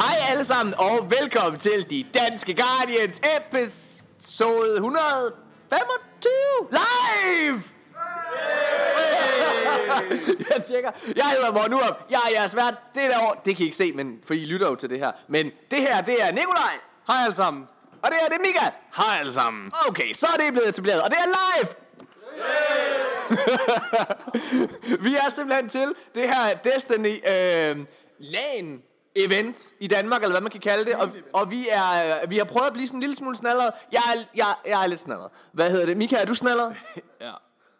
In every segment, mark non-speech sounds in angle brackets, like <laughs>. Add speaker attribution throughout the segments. Speaker 1: Hej alle sammen, og velkommen til De Danske Guardians episode 125 live! jeg tjekker. Jeg hedder Morten Urup. Jeg er jeres vært. Det er derovre. Det kan I ikke se, men, for I lytter jo til det her. Men det her, det er Nikolaj. Hej alle sammen. Og det her, det er Mika. Hej alle sammen. Okay, så er det blevet etableret, og det er live. Vi er simpelthen til det her Destiny øh, LAN event i Danmark, eller hvad man kan kalde det. Og, og vi, er, vi har prøvet at blive sådan en lille smule snallere. Jeg er, jeg, jeg er lidt snallere. Hvad hedder det? Mika, er du snallere?
Speaker 2: Ja.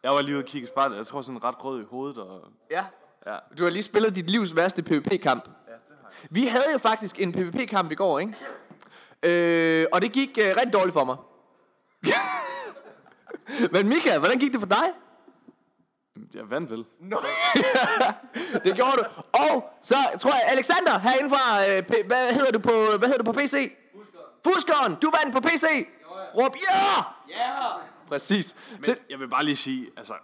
Speaker 2: Jeg var lige ude og kigge i spejlet. Jeg tror sådan ret rød i hovedet. Og...
Speaker 1: Ja.
Speaker 2: Ja.
Speaker 1: Du har lige spillet dit livs værste PvP-kamp. Vi havde jo faktisk en PvP-kamp i går, ikke? Øh, og det gik øh, rigtig dårligt for mig. <laughs> Men Mika, hvordan gik det for dig?
Speaker 2: Jeg vandt vel.
Speaker 1: Det gjorde du. Og så tror jeg, Alexander herinde fra, øh, P- hvad, hedder du på, hvad hedder du på PC? Fuskeren. Fuskeren, du vandt på PC. Råb ja! Ja! Præcis. Til,
Speaker 2: Men jeg vil bare lige sige, altså...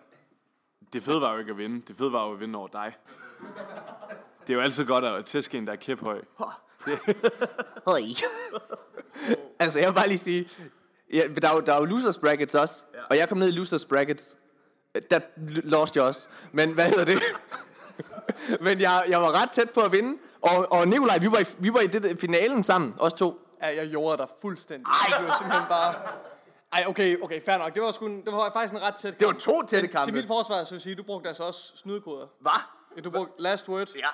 Speaker 2: Det fede var jo ikke at vinde. Det fede var jo at vinde over dig. Det er jo altid godt at tæske en, der er kæphøj.
Speaker 1: Hej. <laughs> altså, jeg vil bare lige sige, ja, der, er jo, der er jo losers brackets også, ja. og jeg kom ned i losers brackets. Der l- lost jeg også, men hvad hedder det? <laughs> men jeg, jeg var ret tæt på at vinde, og, og Nikolaj, vi var i, vi var i det, der- finalen sammen, os to.
Speaker 3: Ja, jeg gjorde dig fuldstændig. Ej. Det var simpelthen bare... Ej, okay, okay, fair nok. Det var, sgu, en- det var faktisk en ret tæt kamp.
Speaker 1: Det var to tætte kampe.
Speaker 3: Til mit forsvar, så vil jeg sige, du brugte altså også snydekoder.
Speaker 1: Hvad?
Speaker 3: Ja, Du brugte last word.
Speaker 1: Ja.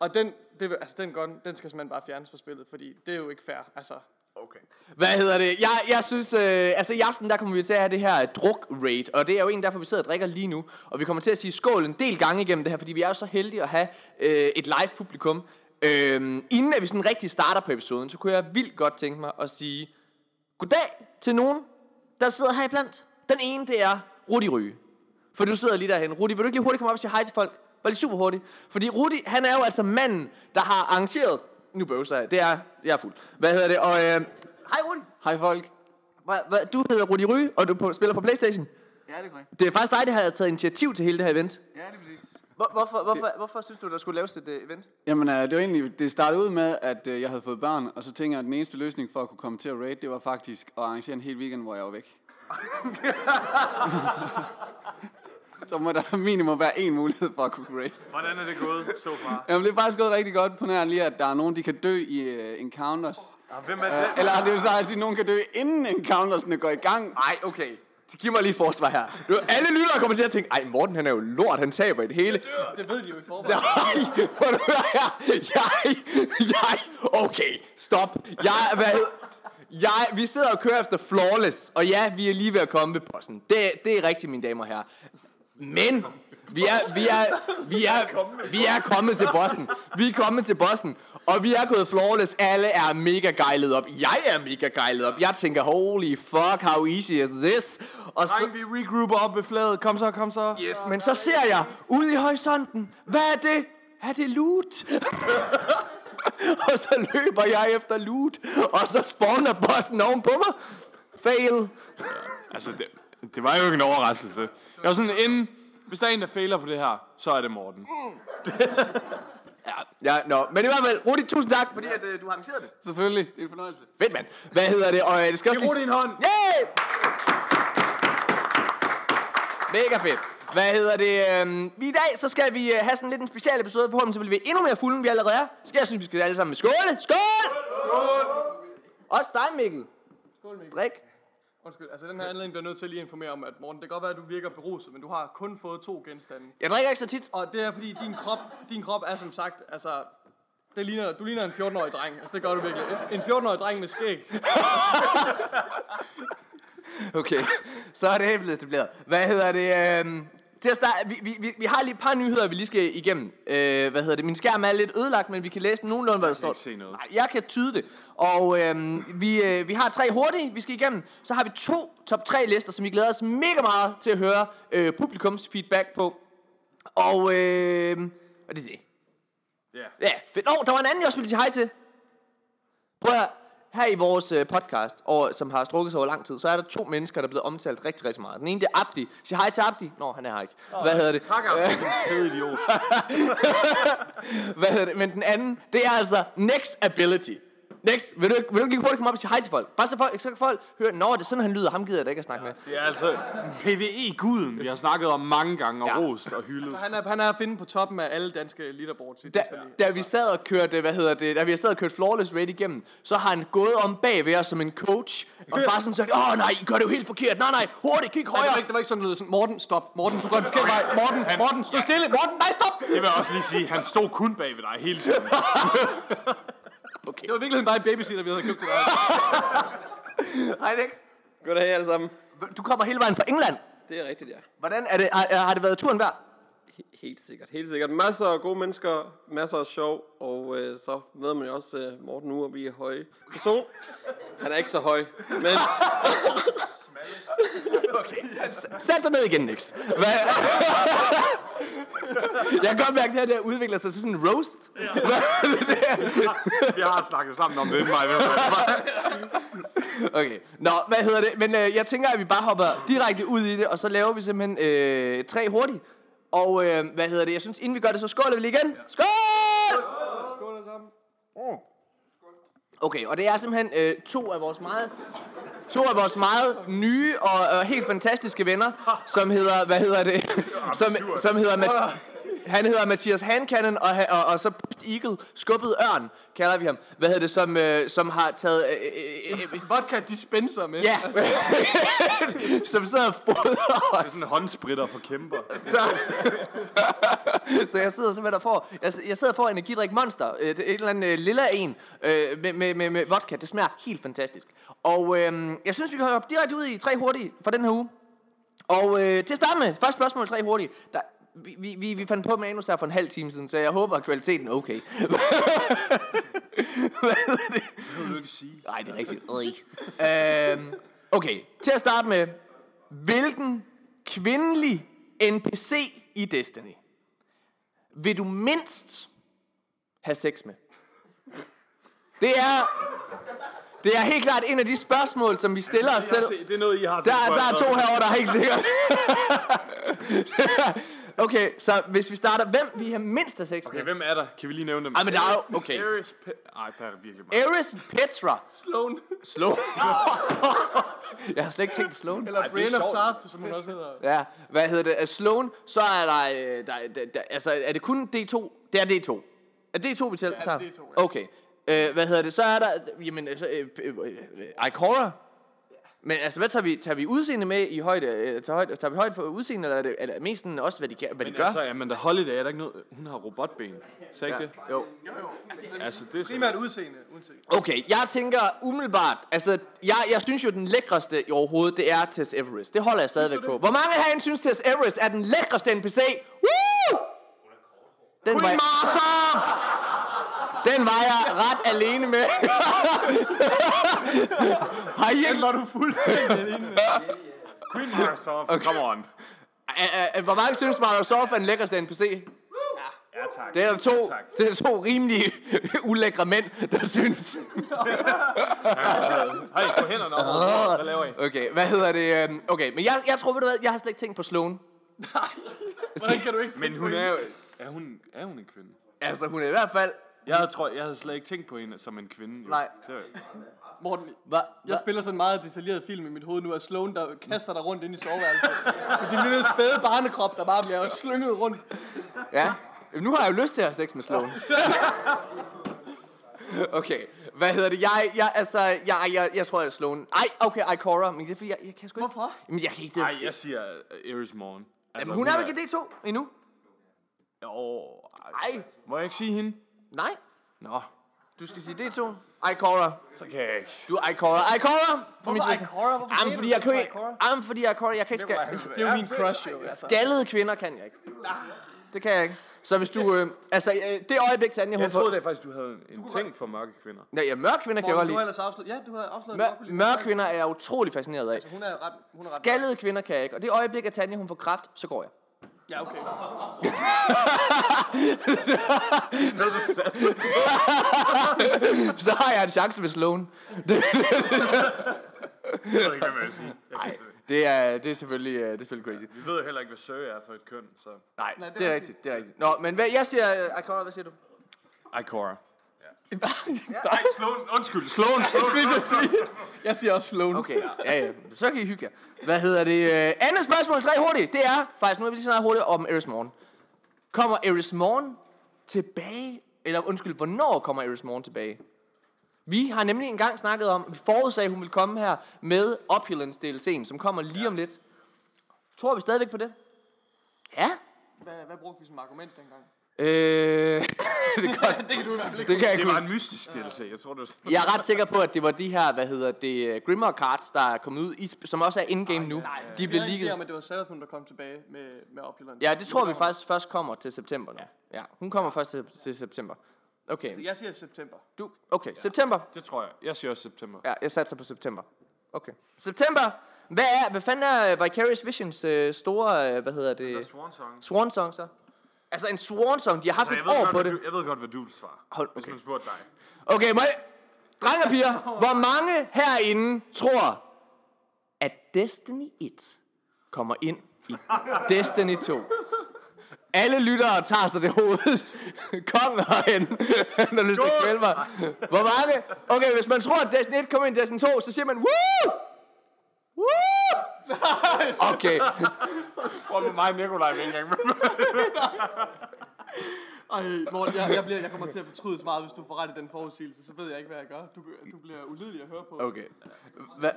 Speaker 3: Og den, det, vil- altså, den gun, den skal simpelthen bare fjernes fra spillet, fordi det er jo ikke fair. Altså,
Speaker 1: Okay. Hvad hedder det? Jeg, jeg synes, øh, altså i aften, der kommer vi til at have det her druk-raid, og det er jo en, derfor vi sidder og drikker lige nu, og vi kommer til at sige skål en del gange igennem det her, fordi vi er jo så heldige at have øh, et live-publikum. Øh, inden at vi sådan rigtig starter på episoden, så kunne jeg vildt godt tænke mig at sige goddag til nogen, der sidder her iblandt. Den ene, det er Rudi Ryge. For du sidder lige derhen. Rudi, vil du ikke lige hurtigt komme op og sige hej til folk? Bare lige super hurtigt. Fordi Rudi, han er jo altså manden, der har arrangeret... Nu bøvser jeg. Det er... Jeg er fuld. Hvad hedder det? Og øh... Hej Rudi. Hej folk. Hva, hva, du hedder Rudi Ry, og du på, spiller på Playstation.
Speaker 4: Ja, det er korrekt.
Speaker 1: Det er faktisk dig, der har taget initiativ til hele det her event.
Speaker 4: Ja, det er præcis.
Speaker 1: Hvor, hvorfor, hvorfor, hvorfor synes du, der skulle laves et uh, event?
Speaker 4: Jamen, øh, det var egentlig, det startede ud med, at øh, jeg havde fået børn, og så tænkte jeg, at den eneste løsning for at kunne komme til at raid, det var faktisk at arrangere en hel weekend, hvor jeg var
Speaker 1: <laughs>
Speaker 4: væk. så må der minimum være en mulighed for at kunne raid.
Speaker 2: Hvordan er det gået så far?
Speaker 4: Jamen, det er faktisk gået rigtig godt på nær lige, at der er nogen, de kan dø i øh, encounters. Øh,
Speaker 2: Hvem er det?
Speaker 4: Eller det vil så at sige, at nogen kan dø, inden encountersne går i gang.
Speaker 1: Ej, okay. Giv mig lige et forsvar her. Nu, alle lyttere kommer til at tænke, ej, Morten han er jo lort, han taber i det hele.
Speaker 3: det ved de jo i forvejen.
Speaker 1: Nej, hvor du jeg, jeg, jeg, okay, stop. Jeg, hvad hed, jeg, vi sidder og kører efter flawless, og ja, vi er lige ved at komme ved bossen. Det, det er rigtigt, mine damer og herrer. Men vi er, vi er, vi er, vi er kommet til bossen. Vi er kommet til bossen. Og vi er gået flawless. Alle er mega gejlet op. Jeg er mega gejlet op. Jeg tænker, holy fuck, how easy is this? Og så,
Speaker 2: Vi regrouper op ved fladet. Kom så, kom så.
Speaker 1: Yes, men så ser jeg ude i horisonten, hvad er det? Er det loot? <laughs> og så løber jeg efter loot, og så spawner bossen oven på mig. Fail.
Speaker 2: Altså, det, det var jo ikke en overraskelse. Jeg var sådan, inden, hvis der er en, der fejler på det her, så er det Morten.
Speaker 1: Ja, nå, no. men i hvert fald, Rudi, tusind tak, fordi at, øh, du har arrangeret det.
Speaker 4: Selvfølgelig, det er en fornøjelse.
Speaker 1: Fedt, mand. Hvad hedder det? Og øh, det skal også
Speaker 2: Giv Rudi en hånd.
Speaker 1: Yay! Mega fedt. Hvad hedder det? øhm, Vi I dag, så skal vi øh, have sådan lidt en special episode. Forhåbentlig så bliver vi endnu mere fulde, end vi allerede er. Så jeg synes, vi skal alle sammen med skål. Skål! skål! Også dig, Mikkel.
Speaker 3: Skål, Mikkel.
Speaker 1: Drik.
Speaker 3: Undskyld, altså den her anledning bliver jeg nødt til lige at informere om, at Morten, det kan godt være, at du virker beruset, men du har kun fået to genstande.
Speaker 1: Jeg drikker ikke så tit.
Speaker 3: Og det er fordi, din krop, din krop er som sagt, altså... Det ligner, du ligner en 14-årig dreng. Altså, det gør du virkelig. En- En 14-årig dreng med skæg.
Speaker 1: <laughs> Okay, så er det blevet etableret. Hvad hedder det? øhm, Til at starte, vi, vi, vi, vi har lige et par nyheder, vi lige skal igennem. Øh, hvad hedder det? Min skærm er lidt ødelagt, men vi kan læse nogenlunde, hvad der står.
Speaker 2: ikke se noget.
Speaker 1: Nej, jeg kan tyde det. Og øhm, vi, øh, vi har tre hurtige, vi skal igennem. Så har vi to top tre lister, som vi glæder os mega meget til at høre øh, publikums feedback på. Og øh, og det er det.
Speaker 2: Ja.
Speaker 1: Ja, fedt. Nå, der var en anden, jeg også ville sige hej til. Prøv at høre. Her i vores øh, podcast, og, som har strukket sig over lang tid, så er der to mennesker, der er blevet omtalt rigtig, rigtig meget. Den ene, det er Abdi. Sig hej til Abdi. Nå, han er her ikke. Hvad hedder det?
Speaker 2: Tak, Abdi, din fede idiot.
Speaker 1: Hvad hedder det? Men den anden, det er altså Next Ability. Next, vil du, ikke- vil du ikke lige hurtigt komme op og sige hej til folk? Bare så folk, så kan folk høre, nå, det er sådan, han lyder. Ham gider jeg da ikke at snakke med.
Speaker 2: Det er altså PVE-guden, vi har snakket om mange gange, og
Speaker 1: Ja.
Speaker 2: rost og hyldet.
Speaker 3: Han er, han er at finde på toppen af alle danske leaderboards. i
Speaker 1: Da,
Speaker 3: Destiny.
Speaker 1: da vi sad og kørte, hvad hedder det, da vi sad og kørte Flawless Raid igennem, så har han gået om bag ved os som en coach, og bare sådan sagt, åh nej, I gør det jo helt forkert, nej nej, hurtigt, kig
Speaker 3: Nej, det var
Speaker 1: højere.
Speaker 3: ikke, det var ikke sådan, det lød sådan, Morten, stop. Morten, du går den forkerte vej. Morten,
Speaker 2: Han-
Speaker 3: Morten, stå stille. Morten, nej, stop.
Speaker 2: Det vil jeg også lige sige, han stod kun bag ved dig hele tiden.
Speaker 3: Det var virkelig bare en babysitter, vi havde købt til dig.
Speaker 1: Hej Next.
Speaker 5: Goddag alle sammen.
Speaker 1: Du kommer hele vejen fra England.
Speaker 5: Det er rigtigt, ja.
Speaker 1: Hvordan er det, har, har det været turen værd?
Speaker 5: He- Helt sikkert, helt sikkert. Masser af gode mennesker, masser af sjov, og øh, så møder man jo også øh, Morten nu, og vi er høje person. Han er ikke så høj, men
Speaker 1: Sæt dig ned igen, Nix. Hvad? <laughs> jeg kan godt mærke, at det her det her udvikler sig til sådan en roast.
Speaker 2: Vi har snakket sammen om det, mig. ved du hvad.
Speaker 1: Okay, nå, hvad hedder det? Men øh, jeg tænker, at vi bare hopper direkte ud i det, og så laver vi simpelthen øh, tre hurtigt. Og øh, hvad hedder det? Jeg synes, inden vi gør det, så skåler vi lige igen. Skål! Mm.
Speaker 3: Skål alle sammen.
Speaker 1: Okay, og det er simpelthen øh, to af vores meget... To af vores meget nye og øh, helt fantastiske venner, som hedder, hvad hedder det? som, som hedder, Mat- han hedder Mathias Hancannon, og, ha- og, og så Pust Eagle, skubbet ørn, kalder vi ham. Hvad hedder det, som, øh, som har taget... Øh, øh, øh,
Speaker 3: Vodka dispenser med.
Speaker 1: ja, <laughs> som sidder og fodrer os.
Speaker 2: Sådan en håndspritter for kæmper.
Speaker 1: Så, <laughs> så jeg sidder simpelthen og får, jeg, jeg sidder og får energidrik monster, øh, det er et eller andet øh, lilla en, øh, med, med, med, med vodka. Det smager helt fantastisk. Og øh, jeg synes, vi kan hoppe direkte ud i tre hurtige for den her uge. Og øh, til at starte med, første spørgsmål tre hurtigt. Der, vi, vi- vi, vi fandt på manus her for en halv time siden, så jeg håber, at kvaliteten er okay. <laughs> Hvad hedder det?
Speaker 2: Det kan du ikke sige.
Speaker 1: Nej, det er rigtigt. Øj. øhm, okay, til at starte med. Hvilken kvindelig NPC i Destiny vil du mindst have sex med? Det er, det er helt klart en af de spørgsmål, som vi stiller os selv.
Speaker 2: Det er noget, I har
Speaker 1: Der, der er to herovre, der er helt sikkert. <laughs> okay, så hvis vi starter, hvem vi har mindst af sex med?
Speaker 2: Okay, hvem er der? Kan vi lige nævne dem?
Speaker 1: Ej, men der er jo- okay.
Speaker 2: Ares Pe- Ej, der er virkelig mange.
Speaker 1: Eris Petra.
Speaker 3: Sloan.
Speaker 1: Sloan. <laughs> Jeg har slet ikke tænkt på Sloan.
Speaker 3: Eller
Speaker 2: Ej, det er
Speaker 3: Brian of
Speaker 2: sjovt.
Speaker 3: Tarth, som hun også hedder.
Speaker 1: Ja, hvad hedder det? Er Sloan, så er der, øh, der, der, der, altså, er det kun D2? Det er D2. Er D2, vi tæller? Ja,
Speaker 3: D2, ja.
Speaker 1: Okay. Øh, hvad hedder det? Så er der, jamen, altså, øh, øh, øh, Ikora. Men altså, hvad tager vi, tager vi udseende med i højde? Øh, tager, højde, tager vi højde for udseende, eller er det eller er mest sådan også, hvad de, kan, hvad
Speaker 2: Men
Speaker 1: de gør?
Speaker 2: altså, jamen, der Holiday, er der ikke noget... Hun har robotben. Så ikke
Speaker 1: ja.
Speaker 2: det?
Speaker 1: Jo.
Speaker 2: Altså, det er så...
Speaker 3: Primært udseende, uanset.
Speaker 1: Okay, jeg tænker umiddelbart, altså, jeg, jeg synes jo, den lækreste i overhovedet, det er Tess Everest. Det holder jeg stadigvæk på. Hvor mange herinde synes, Tess Everest er den lækreste NPC? Woo! Den var, <laughs> den var jeg ret alene med. <laughs> Har I ikke...
Speaker 2: var du fuldstændig alene med. Queen Microsoft, okay. come on.
Speaker 1: <laughs> Æ, æ, Hvor mange synes, Microsoft er den lækreste NPC?
Speaker 2: Ja, tak.
Speaker 1: Det er der to,
Speaker 2: Tak.
Speaker 1: det er to rimelig <laughs> ulækre mænd, der
Speaker 2: <laughs>
Speaker 1: synes.
Speaker 2: altså, Hej, på hænderne
Speaker 1: Ah.
Speaker 2: op. Hvad laver I?
Speaker 1: Okay, hvad hedder det? øhm, Okay, men jeg, jeg tror, ved du hvad, jeg har slet ikke tænkt på Sloan.
Speaker 3: Hvordan kan du ikke
Speaker 2: Altså, Men
Speaker 3: tænke
Speaker 2: hun
Speaker 3: på
Speaker 2: er
Speaker 3: hende?
Speaker 2: jo... Er hun, er hun en kvinde?
Speaker 1: Altså, hun er i hvert fald...
Speaker 2: Jeg havde, tror, jeg havde slet ikke tænkt på hende som en kvinde. jo.
Speaker 1: Nej.
Speaker 2: Det var,
Speaker 3: Morten,
Speaker 1: Hva,
Speaker 3: jeg spiller sådan en meget detaljeret film i mit hoved nu, af Sloan, der kaster dig rundt ind i soveværelset. Med din lille spæde barnekrop, der bare bliver slynget rundt.
Speaker 1: Ja. Jamen, Nu har jeg jo lyst til at have sex med
Speaker 3: <laughs>
Speaker 1: Sloan. okay. Hvad hedder det? Jeg, jeg, altså, jeg, jeg, jeg tror, jeg er Sloan. Ej, okay, ej, Cora. Men det er fordi, jeg, jeg kan sgu ikke...
Speaker 3: Hvorfor?
Speaker 1: Jamen, jeg kan ikke...
Speaker 2: ej, jeg siger uh, Iris Morn. Altså,
Speaker 1: Jamen, hun er jo ikke i D2 endnu.
Speaker 2: Åh, ej.
Speaker 1: Ej.
Speaker 2: Må jeg ikke sige hende?
Speaker 1: Nej.
Speaker 2: Nå,
Speaker 1: Du skal sige D2. Ej, Cora.
Speaker 2: så kan jeg ikke.
Speaker 1: Du er Ej, Cora. Ej, Cora! På mit-
Speaker 3: Ej, Cora, hvorfor
Speaker 1: Jamen,
Speaker 3: siger
Speaker 1: fordi
Speaker 3: du,
Speaker 1: jeg kan
Speaker 3: du er
Speaker 1: ikke...
Speaker 3: Ej, Cora?
Speaker 1: Jamen, fordi jeg er Cora. Jeg kan ikke... Skal...
Speaker 3: Det er jo min crush, jo. Altså.
Speaker 1: Gallede kvinder kan jeg ikke. Det kan jeg ikke. Så hvis du... Øh, altså, øh, det øjeblik, Tanja...
Speaker 2: Jeg troede da faktisk, du havde en, en ting for mørke kvinder.
Speaker 1: Nej, ja, mørke kvinder kan jeg godt
Speaker 3: Morten,
Speaker 1: lide.
Speaker 3: du har ellers afsløret... Ja, du har afsløret...
Speaker 1: Mør-
Speaker 3: Monopoly.
Speaker 1: mørke kvinder er Altså, jeg utrolig fascineret af.
Speaker 3: Hun er ret... Hun er ret...
Speaker 1: Skaldede kvinder kan jeg ikke, og det øjeblik, at Tanja hun får kraft, så <laughs> går jeg.
Speaker 3: Ja, okay.
Speaker 2: Hvad er det sat?
Speaker 1: så har jeg en chance med Sloan.
Speaker 2: Jeg ved ikke, hvad jeg vil sige. Jeg kan ikke-
Speaker 1: Det er, det er selvfølgelig, øh, det er selvfølgelig crazy.
Speaker 2: Vi ved heller ikke, hvad søge er for et køn, så...
Speaker 1: Nej, Nej det, er rigtigt. Det er rigtigt. Nå, men hvad, jeg <laughs> siger... Øh, Akora, hvad siger du?
Speaker 2: Ej, Cora.
Speaker 1: Nej,
Speaker 2: Slå den, undskyld, slå den, slå den.
Speaker 1: jeg sige. Jeg siger også Sloan. Okay, ja, ja. Så kan I hygge jer. Hvad hedder det? Øh, andet spørgsmål, tre hurtigt. Det er faktisk, nu er vi lige snart hurtigt om Eris Morgen. Kommer Eris Morgen tilbage? Eller undskyld, hvornår kommer Eris Morgen tilbage? Vi har nemlig engang snakket om, vi forudsagde, at hun ville komme her med Opulence DLC'en, som kommer lige om lidt. Tror vi stadigvæk på det? Ja.
Speaker 3: Hvad, hvad brugte vi som argument dengang?
Speaker 1: Øh, <laughs> det, koster,
Speaker 3: <laughs> Det kan du i hvert fald ikke.
Speaker 1: det kan jeg
Speaker 2: Det
Speaker 1: ikke
Speaker 2: var en mystisk DLC, jeg tror, det var sådan...
Speaker 1: Jeg er ret sikker på, at det var de her, hvad hedder det, Grimmer Cards, der er kommet ud, i, sp- som også er in-game nu. De blev
Speaker 3: Jeg er ikke om,
Speaker 1: ligget.
Speaker 3: at det var Serathun, der kom tilbage med, med Opulence.
Speaker 1: Ja, det tror vi faktisk først kommer til september nu. Ja, hun kommer først til, til september. Okay,
Speaker 3: Jeg siger september.
Speaker 1: du, okay, september.
Speaker 2: Det tror jeg. Jeg siger også september.
Speaker 1: Ja, jeg satser på september. Okay. September! Hvad, er, hvad fanden er øh, Vicarious Visions øh, store, øh, hvad hedder det?
Speaker 2: Swan Song.
Speaker 1: Swan Song, så? Altså en Swan Song, de har haft
Speaker 2: Så jeg
Speaker 1: et
Speaker 2: ved,
Speaker 1: år
Speaker 2: godt,
Speaker 1: på
Speaker 2: hvad
Speaker 1: det.
Speaker 2: du, jeg ved godt, hvad du vil svare.
Speaker 1: Hold-
Speaker 2: Hvis
Speaker 1: okay.
Speaker 2: man spurgte dig.
Speaker 1: Okay, må jeg... Drenge og piger, hvor mange herinde tror, at Destiny 1 kommer ind i Destiny 2? Alle lyttere tager sig det hoved. Kom herhen, når du skal kvæle mig. Hvor mange? Okay, hvis man tror, at Destiny 1 kommer ind i Destiny 2, så siger man, woo! Woo! Okay,
Speaker 2: Prøv med mig og Nikolaj en gang.
Speaker 3: Ej, Morten, jeg, jeg, bliver, jeg kommer til at fortryde så meget, hvis du får ret i den forudsigelse. Så ved jeg ikke, hvad jeg gør. Du, du bliver ulidelig at høre på.
Speaker 1: okay. Hva?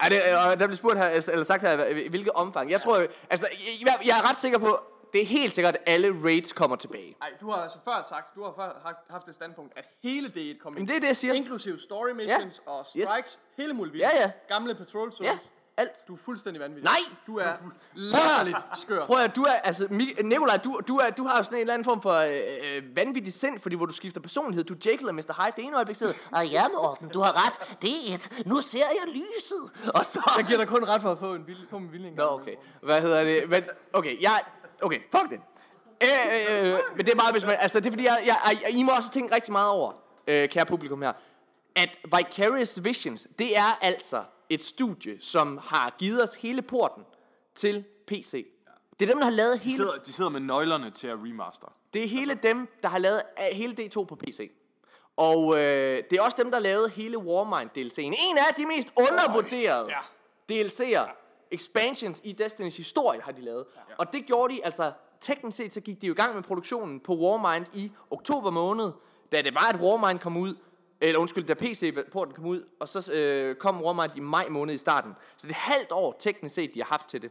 Speaker 1: Er det, øh, og der blev spurgt her, altså, eller sagt her, i hvilket omfang? Jeg tror, altså, jeg, jeg er ret sikker på, det er helt sikkert, at alle raids kommer tilbage.
Speaker 3: Ej, du har altså før sagt, du har før haft- haft det standpunkt, at hele D1 kom ind.
Speaker 1: Men det er det, jeg siger.
Speaker 3: Inklusive story missions
Speaker 1: Ja.
Speaker 3: og strikes,
Speaker 1: Yes.
Speaker 3: yes. hele muligvis.
Speaker 1: Ja, ja.
Speaker 3: Gamle patrol zones.
Speaker 1: Ja, alt.
Speaker 3: Du er fuldstændig vanvittig.
Speaker 1: Nej!
Speaker 3: Du er latterligt skør.
Speaker 1: Prøv at, du er, altså, Mik- Nikolaj, du, du, er, du har jo sådan en eller anden form for øh, øh, vanvittig sind, fordi hvor du skifter personlighed. Du er Jekyll og Mr. Hyde det ene øjeblik sidder, og ja, Morten, du har ret, det er et, nu ser jeg lyset, og så...
Speaker 3: Jeg giver dig kun ret for at få, en vilje, få min vilje engang.
Speaker 1: Nå, okay. Hvad hedder det? Men, okay, jeg... Okay, fuck det. Øh, øh, øh, men det er bare, hvis man... Altså, det er fordi, jeg, jeg, jeg, I må også tænke rigtig meget over, øh, kære publikum her, at Vicarious Visions, det er altså et studie, som har givet os hele porten til PC. Det er dem, der har lavet
Speaker 2: De
Speaker 1: hele...
Speaker 2: sidder, de sidder med nøglerne til at remaster.
Speaker 1: Det er hele dem, der har lavet øh, hele D2 på PC. Og øh, det er også dem, der lavede hele Warmind-DLC'en. En af de mest undervurderede DLC'er, expansions i Destinys historie, har de lavet. Og det gjorde de, altså teknisk set, så gik de jo i gang med produktionen på Warmind i oktober måned, da det var, at Warmind kom ud, eller undskyld, da PC-porten kom ud, og så øh, kom Warmind i maj måned i starten. Så det er et halvt år teknisk set, de har haft til det.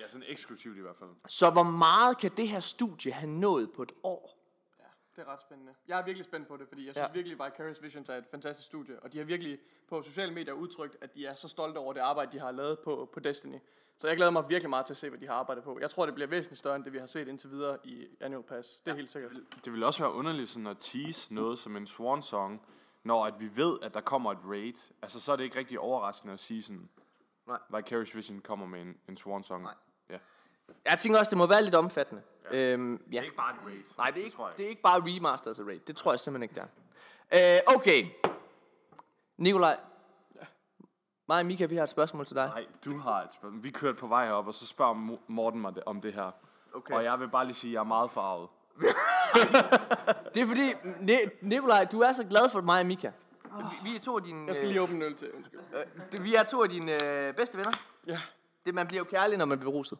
Speaker 2: Ja, sådan eksklusivt i hvert fald.
Speaker 1: Så hvor meget kan det her studie have nået på et år?
Speaker 3: Ja, det er ret spændende. Jeg er virkelig spændt på det, fordi jeg synes
Speaker 1: Ja.
Speaker 3: ja. virkelig, Vicarious Visions er et fantastisk studie, og de har virkelig på sociale medier udtrykt, at de er så stolte over det arbejde, de har lavet på, på Destiny. Så jeg glæder mig virkelig meget til at se, hvad de har arbejdet på. Jeg tror, det bliver væsentligt større, end det vi har set indtil videre i Annual Pass. Det er helt sikkert.
Speaker 2: Det ville også være underligt sådan at tease noget som en swan song, når at vi ved, at der kommer et raid. Altså, så er det ikke rigtig overraskende at sige sådan,
Speaker 1: Nej.
Speaker 2: Vicarious Vision kommer med en, en swan song. Nej. Ja.
Speaker 1: Jeg tænker også, det må være lidt omfattende. Ja. Øhm, ja.
Speaker 2: Det er ikke bare et raid.
Speaker 1: Nej, det er, ikke,
Speaker 2: tror jeg
Speaker 1: det er ikke bare remasters af Raid. Det tror jeg simpelthen ikke, det er. Øh, okay. Nikolaj. Mig og Mika, vi har et spørgsmål til dig.
Speaker 2: Nej, du har et spørgsmål. Vi kørte på vej herop, og så spørger Mo- Morten mig det, om det her. Okay. Og jeg vil bare lige sige, at jeg er meget farvet.
Speaker 1: Det er fordi, Ni- Nikolaj, du er så glad for mig og Mika. Vi, vi er to af dine...
Speaker 3: Jeg skal lige åbne en øl til, undskyld.
Speaker 1: øh, vi er to af dine øh, bedste venner.
Speaker 3: Ja.
Speaker 1: Det, man bliver jo kærlig, når man bliver ruset.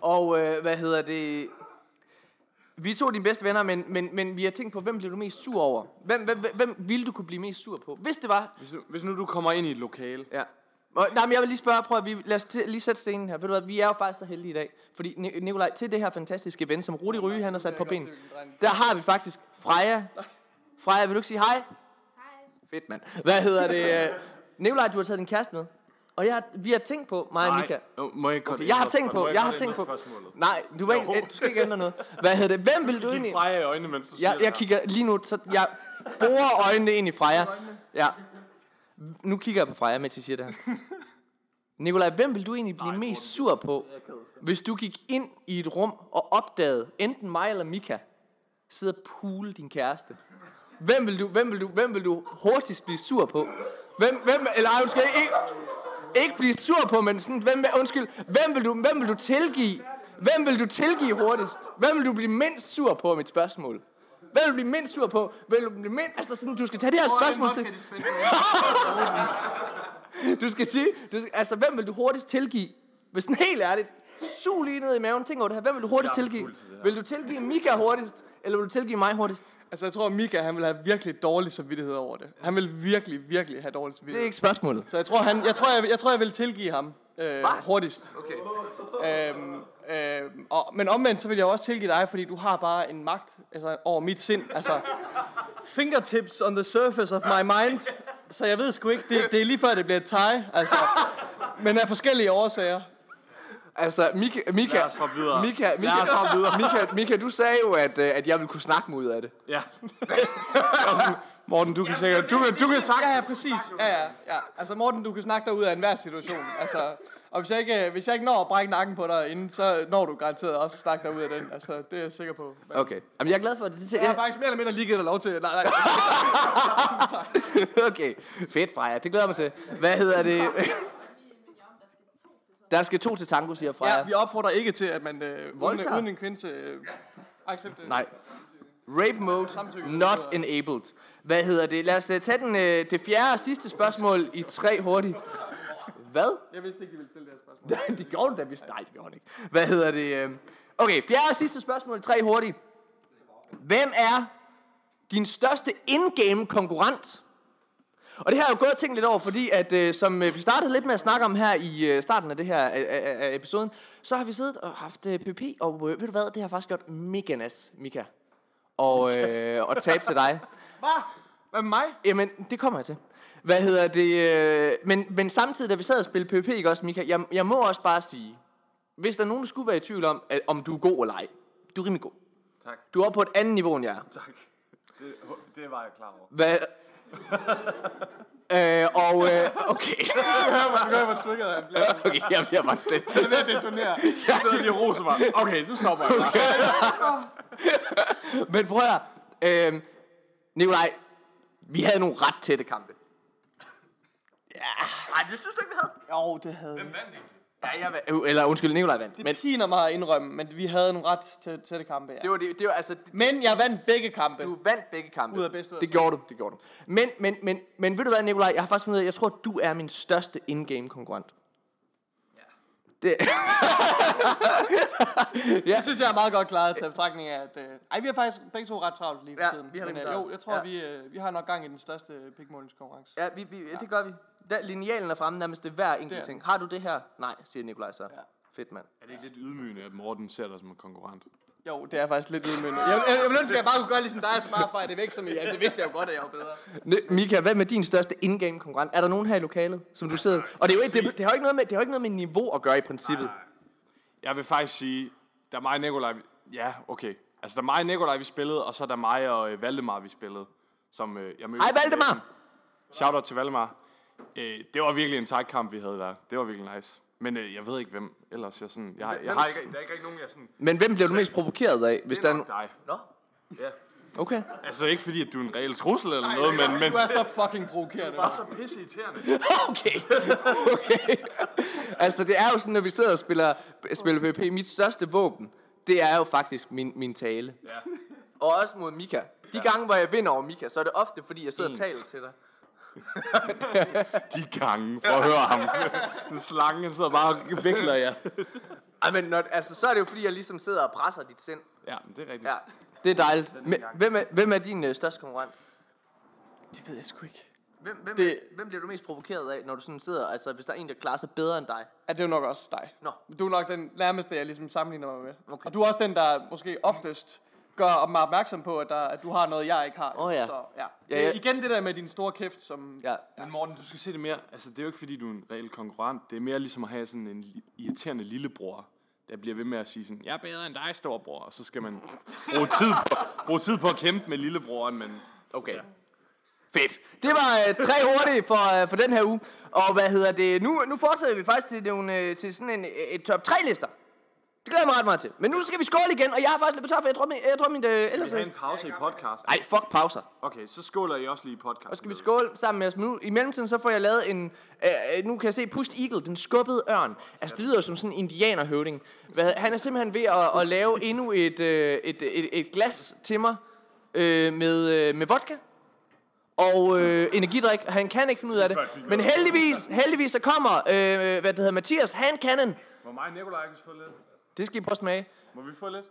Speaker 1: Og øh, hvad hedder det? Vi er to af dine bedste venner, men, men, men vi har tænkt på, hvem bliver du mest sur over? Hvem, hvem, hvem- hvem ville du kunne blive mest sur på? Hvis det var,
Speaker 2: Hvis nu, hvis nu du kommer ind i et lokale,
Speaker 1: Ja. Og, nej, men jeg vil lige spørge, prøv at vi, lad os til, lige sætte scenen her. Ved du hvad, vi er jo faktisk så heldige i dag. Fordi Ni- Nikolaj, til det her fantastiske event, som Rudi Ryge han har sat på ben, der har vi faktisk Freja. Freja, vil du ikke sige hej? Fedt, mand. Hvad hedder det? øh, Nikolaj, du har taget din kæreste med. Og jeg, har- vi har tænkt på, mig og Mika.
Speaker 2: Nej, må jeg ikke godt
Speaker 1: Jeg har
Speaker 2: ændre
Speaker 1: tænkt
Speaker 2: spørgsmålet? Må
Speaker 1: på, jeg
Speaker 2: godt
Speaker 1: har
Speaker 2: ændre
Speaker 1: tænkt på...
Speaker 2: spørgsmålet?
Speaker 1: Nej, du, må ikke,
Speaker 2: Jo.
Speaker 1: øh, du skal ikke ændre noget. Hvad hedder det? Hvem vil du egentlig...
Speaker 2: Kig Freja i øjnene, mens du
Speaker 1: Jeg,
Speaker 2: siger
Speaker 1: jeg kigger lige nu, så jeg borer øjnene ind i Freja. Ja. Nu kigger jeg på Freja, mens jeg siger det her. Nikolaj, hvem vil du egentlig blive mest sur på, hvis du gik ind i et rum og opdagede, enten mig eller Mika, sidde og pule din kæreste? Hvem vil du, hvem vil du, hvem vil du hurtigst blive sur på? Hvem, hvem, eller ej, undskyld, ikke, ikke blive sur på, men sådan, hvem, undskyld, hvem vil du, hvem vil du tilgive? Hvem vil du tilgive hurtigst? Hvem vil du blive mindst sur på, er mit spørgsmål? Hvem vil du blive mindst sur på? Hvem vil du blive mindst, altså sådan, du skal tage det her spørgsmål til. <laughs> Du skal sige, du skal, altså hvem vil du hurtigst tilgive? Hvis den helt ærligt, sug lige ned i maven, tænk over det her. Hvem vil du hurtigst
Speaker 2: Jeg er
Speaker 1: tilgive?
Speaker 2: fuld til det her.
Speaker 1: Vil du tilgive Mika hurtigst, eller vil du tilgive mig hurtigst?
Speaker 3: Altså, jeg tror, at Mika, han vil have virkelig dårlig samvittighed over det. Han vil virkelig, virkelig have dårlig
Speaker 1: Det er
Speaker 3: samvittighed.
Speaker 1: ikke spørgsmålet.
Speaker 3: Så jeg tror, han, jeg, tror, jeg, jeg, tror, jeg vil tilgive ham øh, hurtigst.
Speaker 1: Okay.
Speaker 3: Øhm, øhm, og, men omvendt, så vil jeg også tilgive dig, fordi du har bare en magt altså, over mit sind. Altså, fingertips on the surface of my mind. Så jeg ved sgu ikke, det, det er lige før, det bliver et tie. Altså, men af forskellige årsager.
Speaker 1: Altså, Mika, Mika,
Speaker 2: Lad os hoppe videre.
Speaker 1: Mika, Mika,
Speaker 2: Lad os hoppe videre.
Speaker 1: <laughs> Mika, Mika, du sagde jo, at, øh, at jeg ville kunne snakke mig ud af det.
Speaker 2: Ja. Og sådan, Morten, du kan sikkert... Du kan, du kan sagt...
Speaker 3: Ja, ja, præcis. Ja, ja, ja. Altså, Morten, du kan snakke dig ud af enhver situation. Altså, og hvis jeg, ikke, hvis jeg ikke når at brække nakken på dig inden, så når du garanteret også at snakke dig ud af den. Altså, det er jeg sikker på. Men
Speaker 1: Okay. Jamen, jeg er glad for, at det til.
Speaker 3: Jeg har faktisk mere eller mindre lige givet dig lov til.
Speaker 1: <laughs>
Speaker 3: Nej, nej.
Speaker 1: Okay. Fedt, Freja. Det glæder jeg mig til. Hvad hedder det? <laughs> Der skal to til tango, siger Freja.
Speaker 3: Ja, vi opfordrer ikke til, at man øh, uden,
Speaker 1: Voldtager.
Speaker 3: uden en kvinde til øh, accept, øh,
Speaker 1: Nej. Rape mode,
Speaker 3: Samtykke.
Speaker 1: not enabled. Hvad hedder det? Lad os øh, tage den, øh, det fjerde og sidste spørgsmål i tre hurtigt. Hvad?
Speaker 3: Jeg vidste ikke, I ville stille det her
Speaker 1: <laughs>
Speaker 3: spørgsmål.
Speaker 1: det gjorde hun da, hvis... Nej, det gjorde hun ikke. Hvad hedder det? øhm? Okay, fjerde og sidste spørgsmål. Tre hurtigt. Hvem er din største in-game konkurrent? Og det her har jeg jo gået og tænkt lidt over, fordi at, øh, som øh, vi startede lidt med at snakke om her i øh, starten af det her øh, øh, øh, episoden, så har vi siddet og haft øh, PP, og øh, ved du hvad, det har faktisk gjort mega nas, Mika, og, øh, og tabe til dig.
Speaker 3: Hvad? Hvad med mig?
Speaker 1: Jamen, det kommer jeg til. Hvad hedder det? øh, Men, men samtidig, da vi sad og spillede PvP, ikke også, Mika? Jeg, jeg må også bare sige, hvis der er nogen, der skulle være i tvivl om, at, om du er god eller ej. Du er rimelig god.
Speaker 2: Tak.
Speaker 1: Du er oppe på et andet niveau, end jeg er.
Speaker 2: Tak. Det, det var jeg klar over.
Speaker 1: Hvad? øh, og, øh, <laughs> okay.
Speaker 3: Jeg gør, hvor trykket er.
Speaker 1: okay, jeg bliver bare slet.
Speaker 3: Jeg er ved at detonere.
Speaker 2: Jeg sidder lige og roser mig. Okay, nu stopper jeg bare.
Speaker 1: Men prøv at høre, øh, Nikolaj, vi havde nogle ret tætte kampe. Ja. Ej, det synes du ikke, vi havde.
Speaker 3: Jo, det havde vi.
Speaker 1: Ja, jeg, vandt. Øh, eller undskyld, Nikolaj vandt.
Speaker 3: Det
Speaker 1: Men
Speaker 3: piner mig at indrømme, men vi havde en ret til, til det kampe, ja.
Speaker 1: det var, det, det var altså,
Speaker 3: Men jeg vandt begge kampe.
Speaker 1: Du vandt begge kampe.
Speaker 3: Ud af bedst ud af
Speaker 1: det
Speaker 3: tre.
Speaker 1: gjorde du, det gjorde du. Men, men, men, men ved du hvad, Nikolaj, jeg har faktisk fundet ud af, jeg tror, du er min største in-game konkurrent. Ja. Det,
Speaker 3: Det synes jeg er meget godt klaret til betragtning af, at... Øh, ej, vi har faktisk begge to ret travlt lige for
Speaker 1: Ja,
Speaker 3: tiden.
Speaker 1: vi har
Speaker 3: men,
Speaker 1: nemlig
Speaker 3: øh, jo,
Speaker 1: travlt.
Speaker 3: jeg tror,
Speaker 1: Ja.
Speaker 3: vi, øh, vi har nok gang i den største øh, pikmålingskonkurrence.
Speaker 1: ja, vi, vi, det gør vi. Der, linealen er fremme nærmest ved hver enkelt
Speaker 3: Det er-
Speaker 1: ting. Har du det her? Nej, siger Nikolaj så. Ja. Fedt, mand.
Speaker 2: Er det ikke lidt ydmygende, at Morten ser dig som en konkurrent?
Speaker 3: Jo, det er faktisk lidt udmyndende. Jeg, jeg, jeg, ville ønske, at jeg bare kunne gøre ligesom dig, så bare fejre det væk som I. Altså, det vidste jeg jo godt, at jeg var bedre.
Speaker 1: N- Mika, hvad med din største in-game konkurrent? Er der nogen her i lokalet, som du sidder... Og det, er jo, ikke- det, det, har jo ikke noget med, det har jo ikke noget med niveau at gøre i princippet.
Speaker 2: Jeg vil faktisk sige, der er mig og Nikolaj... Ja, okay. Altså, der er mig og Nikolaj, vi spillede, og så er der mig og øh, Valdemar, vi spillede. Som, øh, jeg mødte
Speaker 1: Hej, Valdemar!
Speaker 2: Shout out til Valdemar. Øh, det var virkelig en tight kamp, vi havde der. Det var virkelig nice. Men øh, jeg ved ikke, hvem ellers jeg sådan... Jeg, har, jeg har ikke, der er ikke rigtig nogen, jeg sådan...
Speaker 1: Men hvem bliver du mest provokeret af? Hvis
Speaker 2: Det er nok
Speaker 1: der er
Speaker 2: dig.
Speaker 1: no... Nå,
Speaker 2: Ja.
Speaker 1: okay.
Speaker 2: Altså ikke fordi, at du er en reel trussel eller noget, men... men
Speaker 3: Du er så fucking provokerende.
Speaker 2: bare så pisse irriterende.
Speaker 1: <laughs> Okay. okay. altså, det er jo sådan, når vi sidder og spiller, spiller PvP, mit største våben, det er jo faktisk min, min tale.
Speaker 2: Ja.
Speaker 1: Og også mod Mika. De gange, hvor jeg vinder over Mika, så er det ofte, fordi jeg sidder og taler til dig.
Speaker 2: De gange, for at høre ham. Den slange sidder bare og vikler jer.
Speaker 1: Ej, men når, altså, så er det jo, fordi jeg ligesom sidder og presser dit sind.
Speaker 2: Ja, men det er rigtigt.
Speaker 1: Ja, det er dejligt. Men, hvem, er, hvem er din øh, største konkurrent?
Speaker 3: Det ved jeg sgu ikke.
Speaker 1: Hvem, hvem, det...
Speaker 3: Det-
Speaker 1: hvem bliver du mest provokeret af, når du sådan sidder, altså hvis der er en, der klarer sig bedre end dig?
Speaker 3: Ja, det er jo nok også dig.
Speaker 1: Nå.
Speaker 3: Du er nok den nærmeste, jeg ligesom sammenligner mig med.
Speaker 1: Okay.
Speaker 3: Og du er også den, der måske oftest gør mig opmærksom på, at, der, at du har noget, jeg ikke har.
Speaker 1: Åh, ja.
Speaker 3: Så, ja.
Speaker 1: Ja,
Speaker 3: Det er
Speaker 1: ja.
Speaker 3: Igen det der med din store kæft, som...
Speaker 1: Ja.
Speaker 2: Men Morten, du skal se det mere. Altså, det er jo ikke, fordi du er en reel konkurrent. Det er mere ligesom at have sådan en li- irriterende lillebror, der bliver ved med at sige sådan, jeg er bedre end dig, storbror. Og så skal man bruge tid på, bruge tid på at kæmpe med lillebroren, men...
Speaker 1: Okay. Fedt. Det var øh, tre hurtige for, øh, for den her uge. Og hvad hedder det? Nu, nu fortsætter vi faktisk til, nogle, øh, til sådan en, øh, et top 3 lister. Det glæder jeg mig ret meget til. Men nu skal vi skåle igen, og jeg har faktisk lidt betalt, for jeg tror, min, jeg tror, min øh, ellers...
Speaker 2: Vi har en pause i podcast.
Speaker 1: Ej, fuck pauser.
Speaker 2: Okay, så skåler I også lige i podcast.
Speaker 1: Og skal vi skåle sammen med os. Men nu, I mellemtiden så får jeg lavet en... Øh, øh, nu kan jeg se Pust Eagle, den skubbede ørn. Altså, det lyder jo som sådan en indianerhøvding. Hvad, han er simpelthen ved at, at lave endnu et, øh, et, et, et glas til mig øh, med, øh, med vodka og øh, energidrik. Han kan ikke finde ud af det. Men heldigvis, heldigvis så kommer, øh, hvad det hedder, Mathias Handcannon.
Speaker 2: Må mig og Nicolaj ikke få lidt?
Speaker 1: Det skal I prøve at smage.
Speaker 2: Må vi få lidt?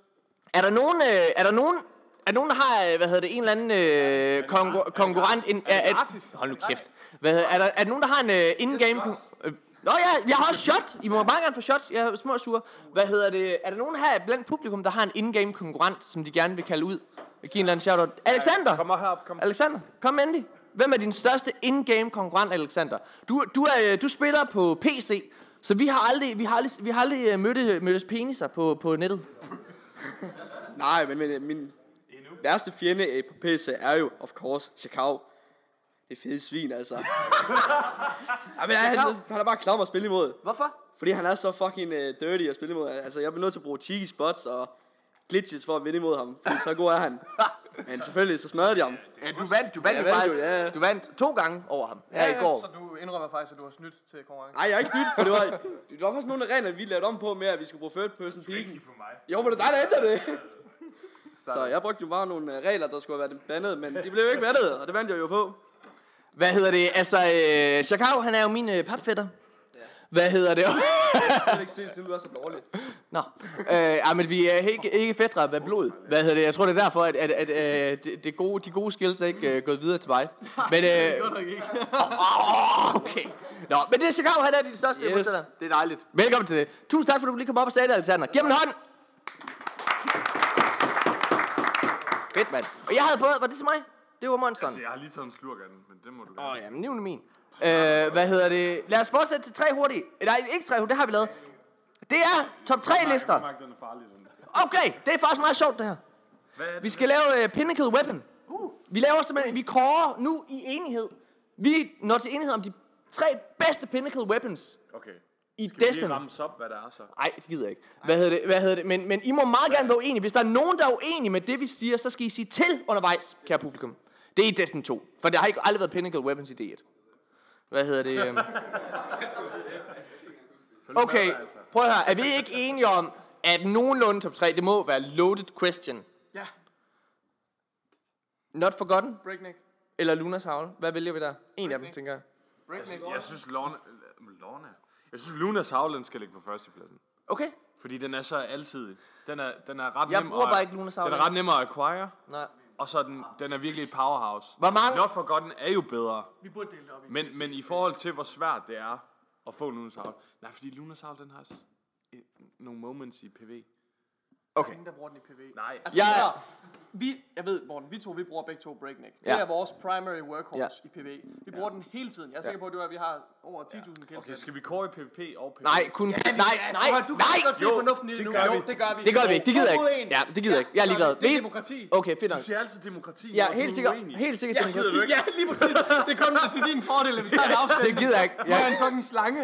Speaker 1: Er der nogen, øh, er der nogen, er der nogen, der har, øh, hvad hedder det, en eller anden øh, konkur- konkurrent? En, er,
Speaker 2: gratis?
Speaker 1: er, hold nu kæft. Hvad hedder, er, der, er der nogen, der har en øh, in-game... kon- Øh, Nå ja, jeg har også shot. I må meget gerne få shots. Jeg er små sure. Hvad hedder det? Er der nogen her blandt publikum, der har en in-game konkurrent, som de gerne vil kalde ud? Og give en eller anden shout-out. Alexander!
Speaker 2: Kom herop, kom.
Speaker 1: Alexander, kom endelig. Hvem er din største in-game konkurrent, Alexander? Du, du, er, øh, du spiller på PC, så vi har aldrig, vi har aldrig, vi har aldrig øh, mødt, mødtes peniser på, på nettet.
Speaker 5: <laughs> Nej, men, men øh, min værste fjende øh, på PC er jo, of course, Chicago. Det er fede svin, altså. Ej, men han, han, han er bare klam at spille imod.
Speaker 1: Hvorfor?
Speaker 5: Fordi han er så fucking uh, dirty at spille imod. Altså, jeg bliver nødt til at bruge cheeky spots og glitches for at vinde imod ham. Fordi så god er han. Men selvfølgelig, så smadrede de ham.
Speaker 1: Ja, Øh, du vandt, du vandt
Speaker 5: Jeg
Speaker 1: jo
Speaker 5: vandt
Speaker 1: faktisk.
Speaker 5: jo, ja, ja.
Speaker 1: Du vandt to gange over ham her i går.
Speaker 3: Så du indrømmer faktisk, at du har snydt til konkurrencen.
Speaker 5: Nej, jeg er ikke snydt, for det var, det var faktisk nogle af reglerne, vi lavede om på med, at vi skulle bruge third person peeking. Jo, for det er dig, der ændrede det. Så jeg brugte jo bare nogle øh, regler, der skulle have været bandet, men de blev jo ikke bandet, og det vandt jeg jo på.
Speaker 1: Hvad hedder det? Altså, øh, Chakao, han er jo min øh, papfætter. Hvad hedder det?
Speaker 5: Jeg kan ikke se, siden du er så dårlig.
Speaker 1: Nå, øh, ej, men vi er ikke, ikke fætter af blod. Hvad hedder det? Jeg tror, det er derfor, at, at, at, øh, det, det gode, de gode skills er ikke øh, gået videre til mig. Men, øh,
Speaker 3: nok ikke.
Speaker 1: Åh, okay. Nå, men det er Chicago, han er din største yes. modstander. Det er dejligt. Velkommen til det. Tusind tak, for at du lige kom op og sagde det, Alexander. Giv ham en hånd. Fedt, mand. Og jeg havde fået, var det til mig? Det var monsteren.
Speaker 2: Så jeg har lige taget en slurk af den, men det må du
Speaker 1: Åh,
Speaker 2: gerne.
Speaker 1: oh, jamen, nu er det min. Øh, hvad hedder det? Lad os fortsætte til tre hurtigt. Nej, ikke tre hurtigt, det har vi lavet. Det er top 3 lister.
Speaker 2: Jeg kan den er farlig, den der.
Speaker 1: Okay, det er faktisk meget sjovt, det her.
Speaker 2: Hvad er det?
Speaker 1: Vi skal lave uh, Pinnacle Weapon.
Speaker 2: Uh.
Speaker 1: Vi laver simpelthen, vi kårer nu i enighed. Vi når til enighed om de tre bedste Pinnacle Weapons
Speaker 2: Okay.
Speaker 1: i
Speaker 2: Skal vi
Speaker 1: Destiny.
Speaker 2: lige rammes op, hvad der er så?
Speaker 1: Nej, det gider jeg ikke. Hvad hedder det? Hvad hedder det? Men, men I må meget gerne være uenige. Hvis der er nogen, der er uenige med det, vi siger, så skal I sige til undervejs, kære publikum. Det er i Destiny 2, for der har ikke aldrig været Pinnacle Weapons i D1. Hvad hedder det? øhm? Okay, prøv at høre. Er vi ikke enige om, at nogenlunde top 3, det må være loaded question?
Speaker 3: Ja,
Speaker 1: Not Forgotten
Speaker 3: breakneck.
Speaker 1: eller Lunas Howl? Hvad vælger vi der? En af dem, tænker jeg.
Speaker 3: Breakneck.
Speaker 2: Jeg synes, Lorna... Lorna... Jeg synes, Lunas Havland skal ligge på førstepladsen.
Speaker 1: Okay.
Speaker 2: Fordi den er så altid. Den er, den er ret
Speaker 1: Jeg
Speaker 2: nem
Speaker 1: bruger
Speaker 2: at,
Speaker 1: bare ikke Lunas
Speaker 2: Den
Speaker 1: Havland.
Speaker 2: er ret nem at acquire.
Speaker 1: Nej.
Speaker 2: Og så er den, den er virkelig et powerhouse.
Speaker 1: Hvor mange-
Speaker 2: Not Forgotten er jo bedre.
Speaker 3: Vi burde dele det op i.
Speaker 2: Men, men i forhold til, hvor svært det er at få Lunas Havl. Nej, fordi Lunas Havl, den har s- et- nogle moments i PV.
Speaker 1: Okay.
Speaker 3: Ingen, der bruger den i PV.
Speaker 2: Nej.
Speaker 3: Altså,
Speaker 1: Jeg-
Speaker 3: jeg... Vi, jeg ved, Morten, vi to, vi bruger begge to breakneck. Det
Speaker 1: Ja.
Speaker 3: er vores primary workhorse i PV. Vi bruger den hele tiden. Jeg er sikker på, at det er, at vi har over 10.000 kills.
Speaker 2: Okay, skal vi kåre i PvP og PvP?
Speaker 1: Nej, kun...
Speaker 3: Ja,
Speaker 1: Nej,
Speaker 3: vi- ja,
Speaker 1: nej,
Speaker 3: prøv at- Du kan
Speaker 1: nej!
Speaker 3: godt se fornuften i det, nu.
Speaker 2: gør
Speaker 3: Jo,
Speaker 2: vi.
Speaker 3: det gør vi.
Speaker 1: Det gør vi ikke. Det gider jeg
Speaker 3: To mod
Speaker 1: ikke.
Speaker 3: en.
Speaker 1: Ja, det gider jeg ikke. Jeg er
Speaker 3: det gør
Speaker 1: ligeglad.
Speaker 3: vi. Det er
Speaker 1: Vi-
Speaker 3: demokrati.
Speaker 1: Okay, fedt nok.
Speaker 2: Det er altid demokrati.
Speaker 1: Ja,
Speaker 2: når
Speaker 1: helt
Speaker 2: du
Speaker 1: sikkert.
Speaker 2: er uenig.
Speaker 1: Helt sikkert.
Speaker 3: Ja,
Speaker 1: demokrati.
Speaker 3: ja, lige præcis. <laughs> Det kommer til din fordel, at vi tager en afstemning.
Speaker 1: Det gider jeg ikke.
Speaker 3: Ja.
Speaker 1: Ja.
Speaker 3: er en fucking slange.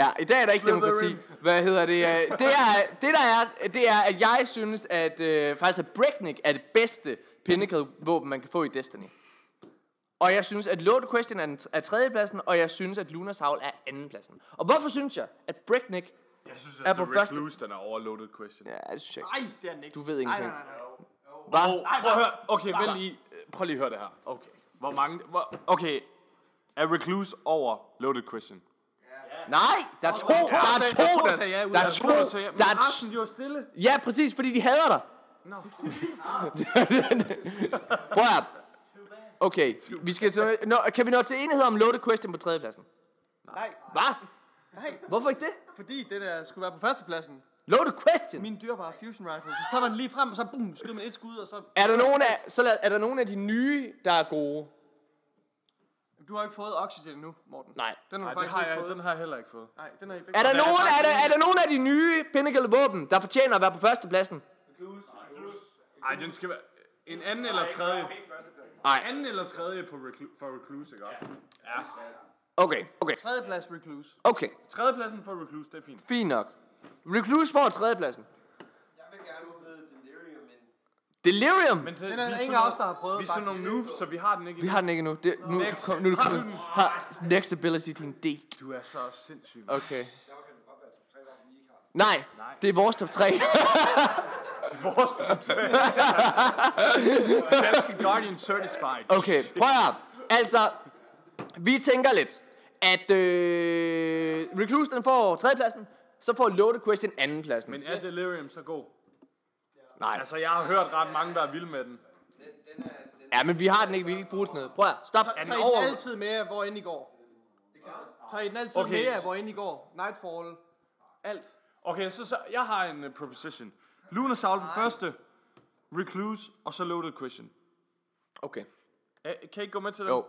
Speaker 1: ja, i dag er der ikke
Speaker 3: Slytherin.
Speaker 1: demokrati. Hvad hedder det? øh, Det, er, det der er, det er, at jeg synes, at øh, faktisk at Breakneck er det bedste Pinnacle-våben, man kan få i Destiny. Og jeg synes, at Loaded Question er, den, er tredjepladsen, og jeg synes, at Lunas Havl er andenpladsen. Og hvorfor synes jeg, at Breakneck...
Speaker 2: Jeg synes, at
Speaker 1: på
Speaker 2: altså,
Speaker 1: første-
Speaker 2: Rick Blues, den er overloaded question. Ja.
Speaker 1: Ja, det synes jeg ikke.
Speaker 3: Nej, det er den ikke.
Speaker 1: Du ved ingenting.
Speaker 3: Nej, nej, nej.
Speaker 1: Hva?
Speaker 2: Prøv at høre. Okay, vent lige. Prøv lige at høre det her. Okay. Hvor mange... Hvor, okay. Er Recluse over loaded question?
Speaker 1: Nej, der er to, der er to, der,
Speaker 3: sagde ja ud.
Speaker 1: der er to,
Speaker 2: Prøv at sige, men
Speaker 1: der er
Speaker 2: resten, de var stille.
Speaker 1: Ja, præcis, fordi de hader dig.
Speaker 2: Nå.
Speaker 1: Prøv at Okay, vi skal så, nå, kan vi nå til enighed om loaded question på tredjepladsen?
Speaker 3: Nej,
Speaker 1: Hvad?
Speaker 3: nej.
Speaker 1: Hvorfor ikke det?
Speaker 3: Fordi det der skulle være på førstepladsen.
Speaker 1: Loaded question.
Speaker 3: Min dyrbare fusion rifle. Så tager man den lige frem, og så boom, skyder man et skud, og så...
Speaker 1: Er der nogen af, så lad, er der nogen af de nye, der er gode?
Speaker 3: Du har ikke fået oxygen endnu, Morten.
Speaker 1: Nej.
Speaker 3: Den har du
Speaker 2: Nej, det
Speaker 3: faktisk
Speaker 2: har
Speaker 3: ikke
Speaker 2: jeg,
Speaker 3: fået.
Speaker 2: den har jeg heller ikke fået.
Speaker 3: Nej, den har I ikke
Speaker 1: Er der, nogen, er, der, er der nogen af de nye Pinnacle våben, der fortjener at være på førstepladsen?
Speaker 2: Nej, den skal være... En anden eller tredje. Nej. Anden eller tredje på reclu- for Recluse, ikke? også? Ja.
Speaker 1: Okay, okay,
Speaker 3: Tredjeplads Recluse.
Speaker 1: okay.
Speaker 2: Tredjepladsen for Recluse, det er fint.
Speaker 1: Fint nok. Recluse får tredjepladsen. Delirium.
Speaker 2: Men til,
Speaker 6: Den er der ingen af os, der har prøvet.
Speaker 2: Vi er sådan nogle
Speaker 6: faktisk.
Speaker 2: noobs, så vi har den ikke
Speaker 1: Vi har den ikke endnu. Det, nu, nu,
Speaker 2: Next.
Speaker 1: kom, nu, nu,
Speaker 2: Har du
Speaker 1: nu
Speaker 2: den?
Speaker 1: har next ability din dick.
Speaker 2: Du er så sindssyg. Okay.
Speaker 1: Okay. Nej, det er vores top 3.
Speaker 2: Vores Danske Guardian Certified.
Speaker 1: <laughs> Okay, prøv at høre. Altså, vi tænker lidt, at øh, Recluse den får tredjepladsen, så får Loaded Question andenpladsen.
Speaker 2: Men er Delirium så god?
Speaker 1: Nej.
Speaker 2: Altså, jeg har hørt ret mange, der er vilde med den.
Speaker 1: Ja, men vi har den ikke, vi kan ikke bruge den ned. Prøv at høre. stop.
Speaker 6: Tag
Speaker 2: den
Speaker 6: I
Speaker 2: over-
Speaker 6: den altid med jer, hvor end I går. Tag I den altid
Speaker 2: Okay,
Speaker 6: med jer,
Speaker 2: så-
Speaker 6: hvor end I går. Nightfall. Alt.
Speaker 2: Okay, så, så jeg har en uh, proposition. Lunar Soul på første, Recluse, og så Loaded Question.
Speaker 1: Okay.
Speaker 2: Uh, kan I ikke gå med til det?
Speaker 1: Jo.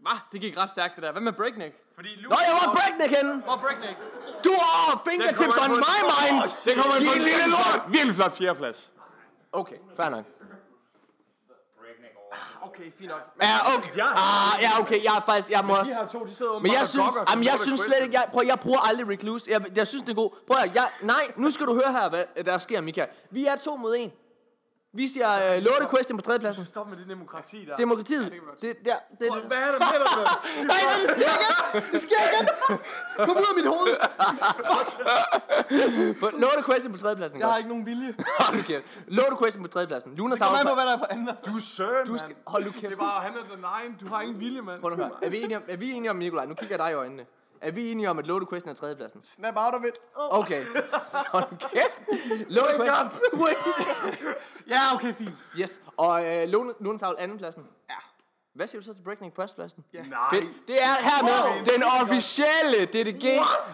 Speaker 3: Hva? Det gik ret stærkt, det der. Hvad med Breakneck?
Speaker 2: Fordi
Speaker 1: Nå,
Speaker 2: Lunar
Speaker 1: jeg var Breakneck henne.
Speaker 6: Hvor er Breakneck?
Speaker 1: Du har fingertips on my mind.
Speaker 2: Det kommer jeg
Speaker 1: Din
Speaker 2: på en
Speaker 1: lille lort.
Speaker 2: Virkelig flot fjerdeplads.
Speaker 1: Okay, fair nok.
Speaker 6: Okay, fint nok.
Speaker 1: Ja, okay. Ah, ja, okay. Jeg er faktisk, jeg må også...
Speaker 2: to, de sidder
Speaker 1: Men jeg synes, jamen, jeg synes slet ikke, jeg, prøv, jeg bruger aldrig recluse. Jeg, jeg synes, det er god. Prøv at, jeg, nej, nu skal du høre her, hvad øh, der sker, Mika. Vi er to mod en. Vi siger uh, Lotte Question på tredjepladsen.
Speaker 2: Stop med det demokrati der.
Speaker 1: Demokratiet. Det, der, det, det.
Speaker 2: Hvad er der med dig? mand?
Speaker 1: Nej, nej, det sker igen. Det sker igen. Kom ud af mit hoved. Fuck. Lotte Question på tredjepladsen.
Speaker 6: Jeg har ikke nogen
Speaker 3: <laughs>
Speaker 6: vilje.
Speaker 1: Hold nu kæft. Lotte Question på tredjepladsen. Luna
Speaker 6: Kom
Speaker 1: Sauer.
Speaker 6: an på, hvad der er på anden.
Speaker 2: Du er søren,
Speaker 1: Du skal, hold nu kæft.
Speaker 2: Det var, han er the nine. Du har ingen vilje, mand.
Speaker 1: Prøv nu at høre. Er vi enige om, er vi enige om Nikolaj? Nu kigger jeg dig i øjnene. Er vi enige om, at Lotte Question er tredjepladsen?
Speaker 6: Snap out of it. Oh.
Speaker 1: Okay. Hold kæft. Lone Quest. <laughs>
Speaker 6: Ja, okay, fint.
Speaker 1: Yes. Og øh, Lone, Lone Tavl andenpladsen. Ja. Hvad siger du så til Breaking på førstepladsen? Ja.
Speaker 2: Nej.
Speaker 1: Fedt. Det er hermed wow. den officielle DDG.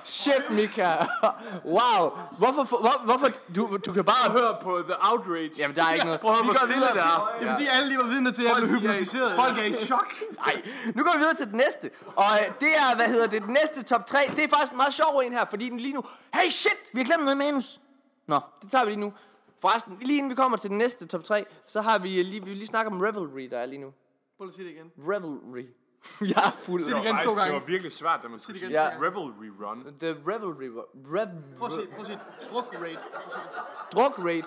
Speaker 1: Shit, Mika. <laughs> wow. Hvorfor, hvor, hvorfor du, du kan bare høre.
Speaker 2: Hør på The Outrage.
Speaker 1: Jamen, der er <laughs> ikke noget.
Speaker 2: Prøv at høre,
Speaker 1: Vi
Speaker 2: hvor
Speaker 1: går
Speaker 2: stille
Speaker 1: videre.
Speaker 2: det er.
Speaker 6: Det er fordi, alle lige var vidne til, at jeg blev hypnotiseret.
Speaker 2: Folk er i chok.
Speaker 1: Nej, nu går vi videre til det næste. Og øh, det er, hvad hedder det, den næste top 3. Det er faktisk en meget sjov en her, fordi den lige nu... Hey, shit, vi har glemt noget i manus. Nå, det tager vi lige nu. Forresten, lige inden vi kommer til den næste top 3, så har vi øh, lige, vi vil lige snakke om Revelry, der er lige nu.
Speaker 6: Prøv lige at sige det igen.
Speaker 1: Revelry. <laughs> jeg er fuld.
Speaker 6: det igen.
Speaker 1: af-
Speaker 6: to gange.
Speaker 2: Det var virkelig svært, da man skulle
Speaker 6: igen
Speaker 2: sige
Speaker 1: to gange.
Speaker 2: Revelry Run.
Speaker 1: The Revelry.
Speaker 6: Prøv at se,
Speaker 1: Rev,
Speaker 6: prøv at se. Druk rate. Prøv at se.
Speaker 1: drug rate.
Speaker 6: Ja, det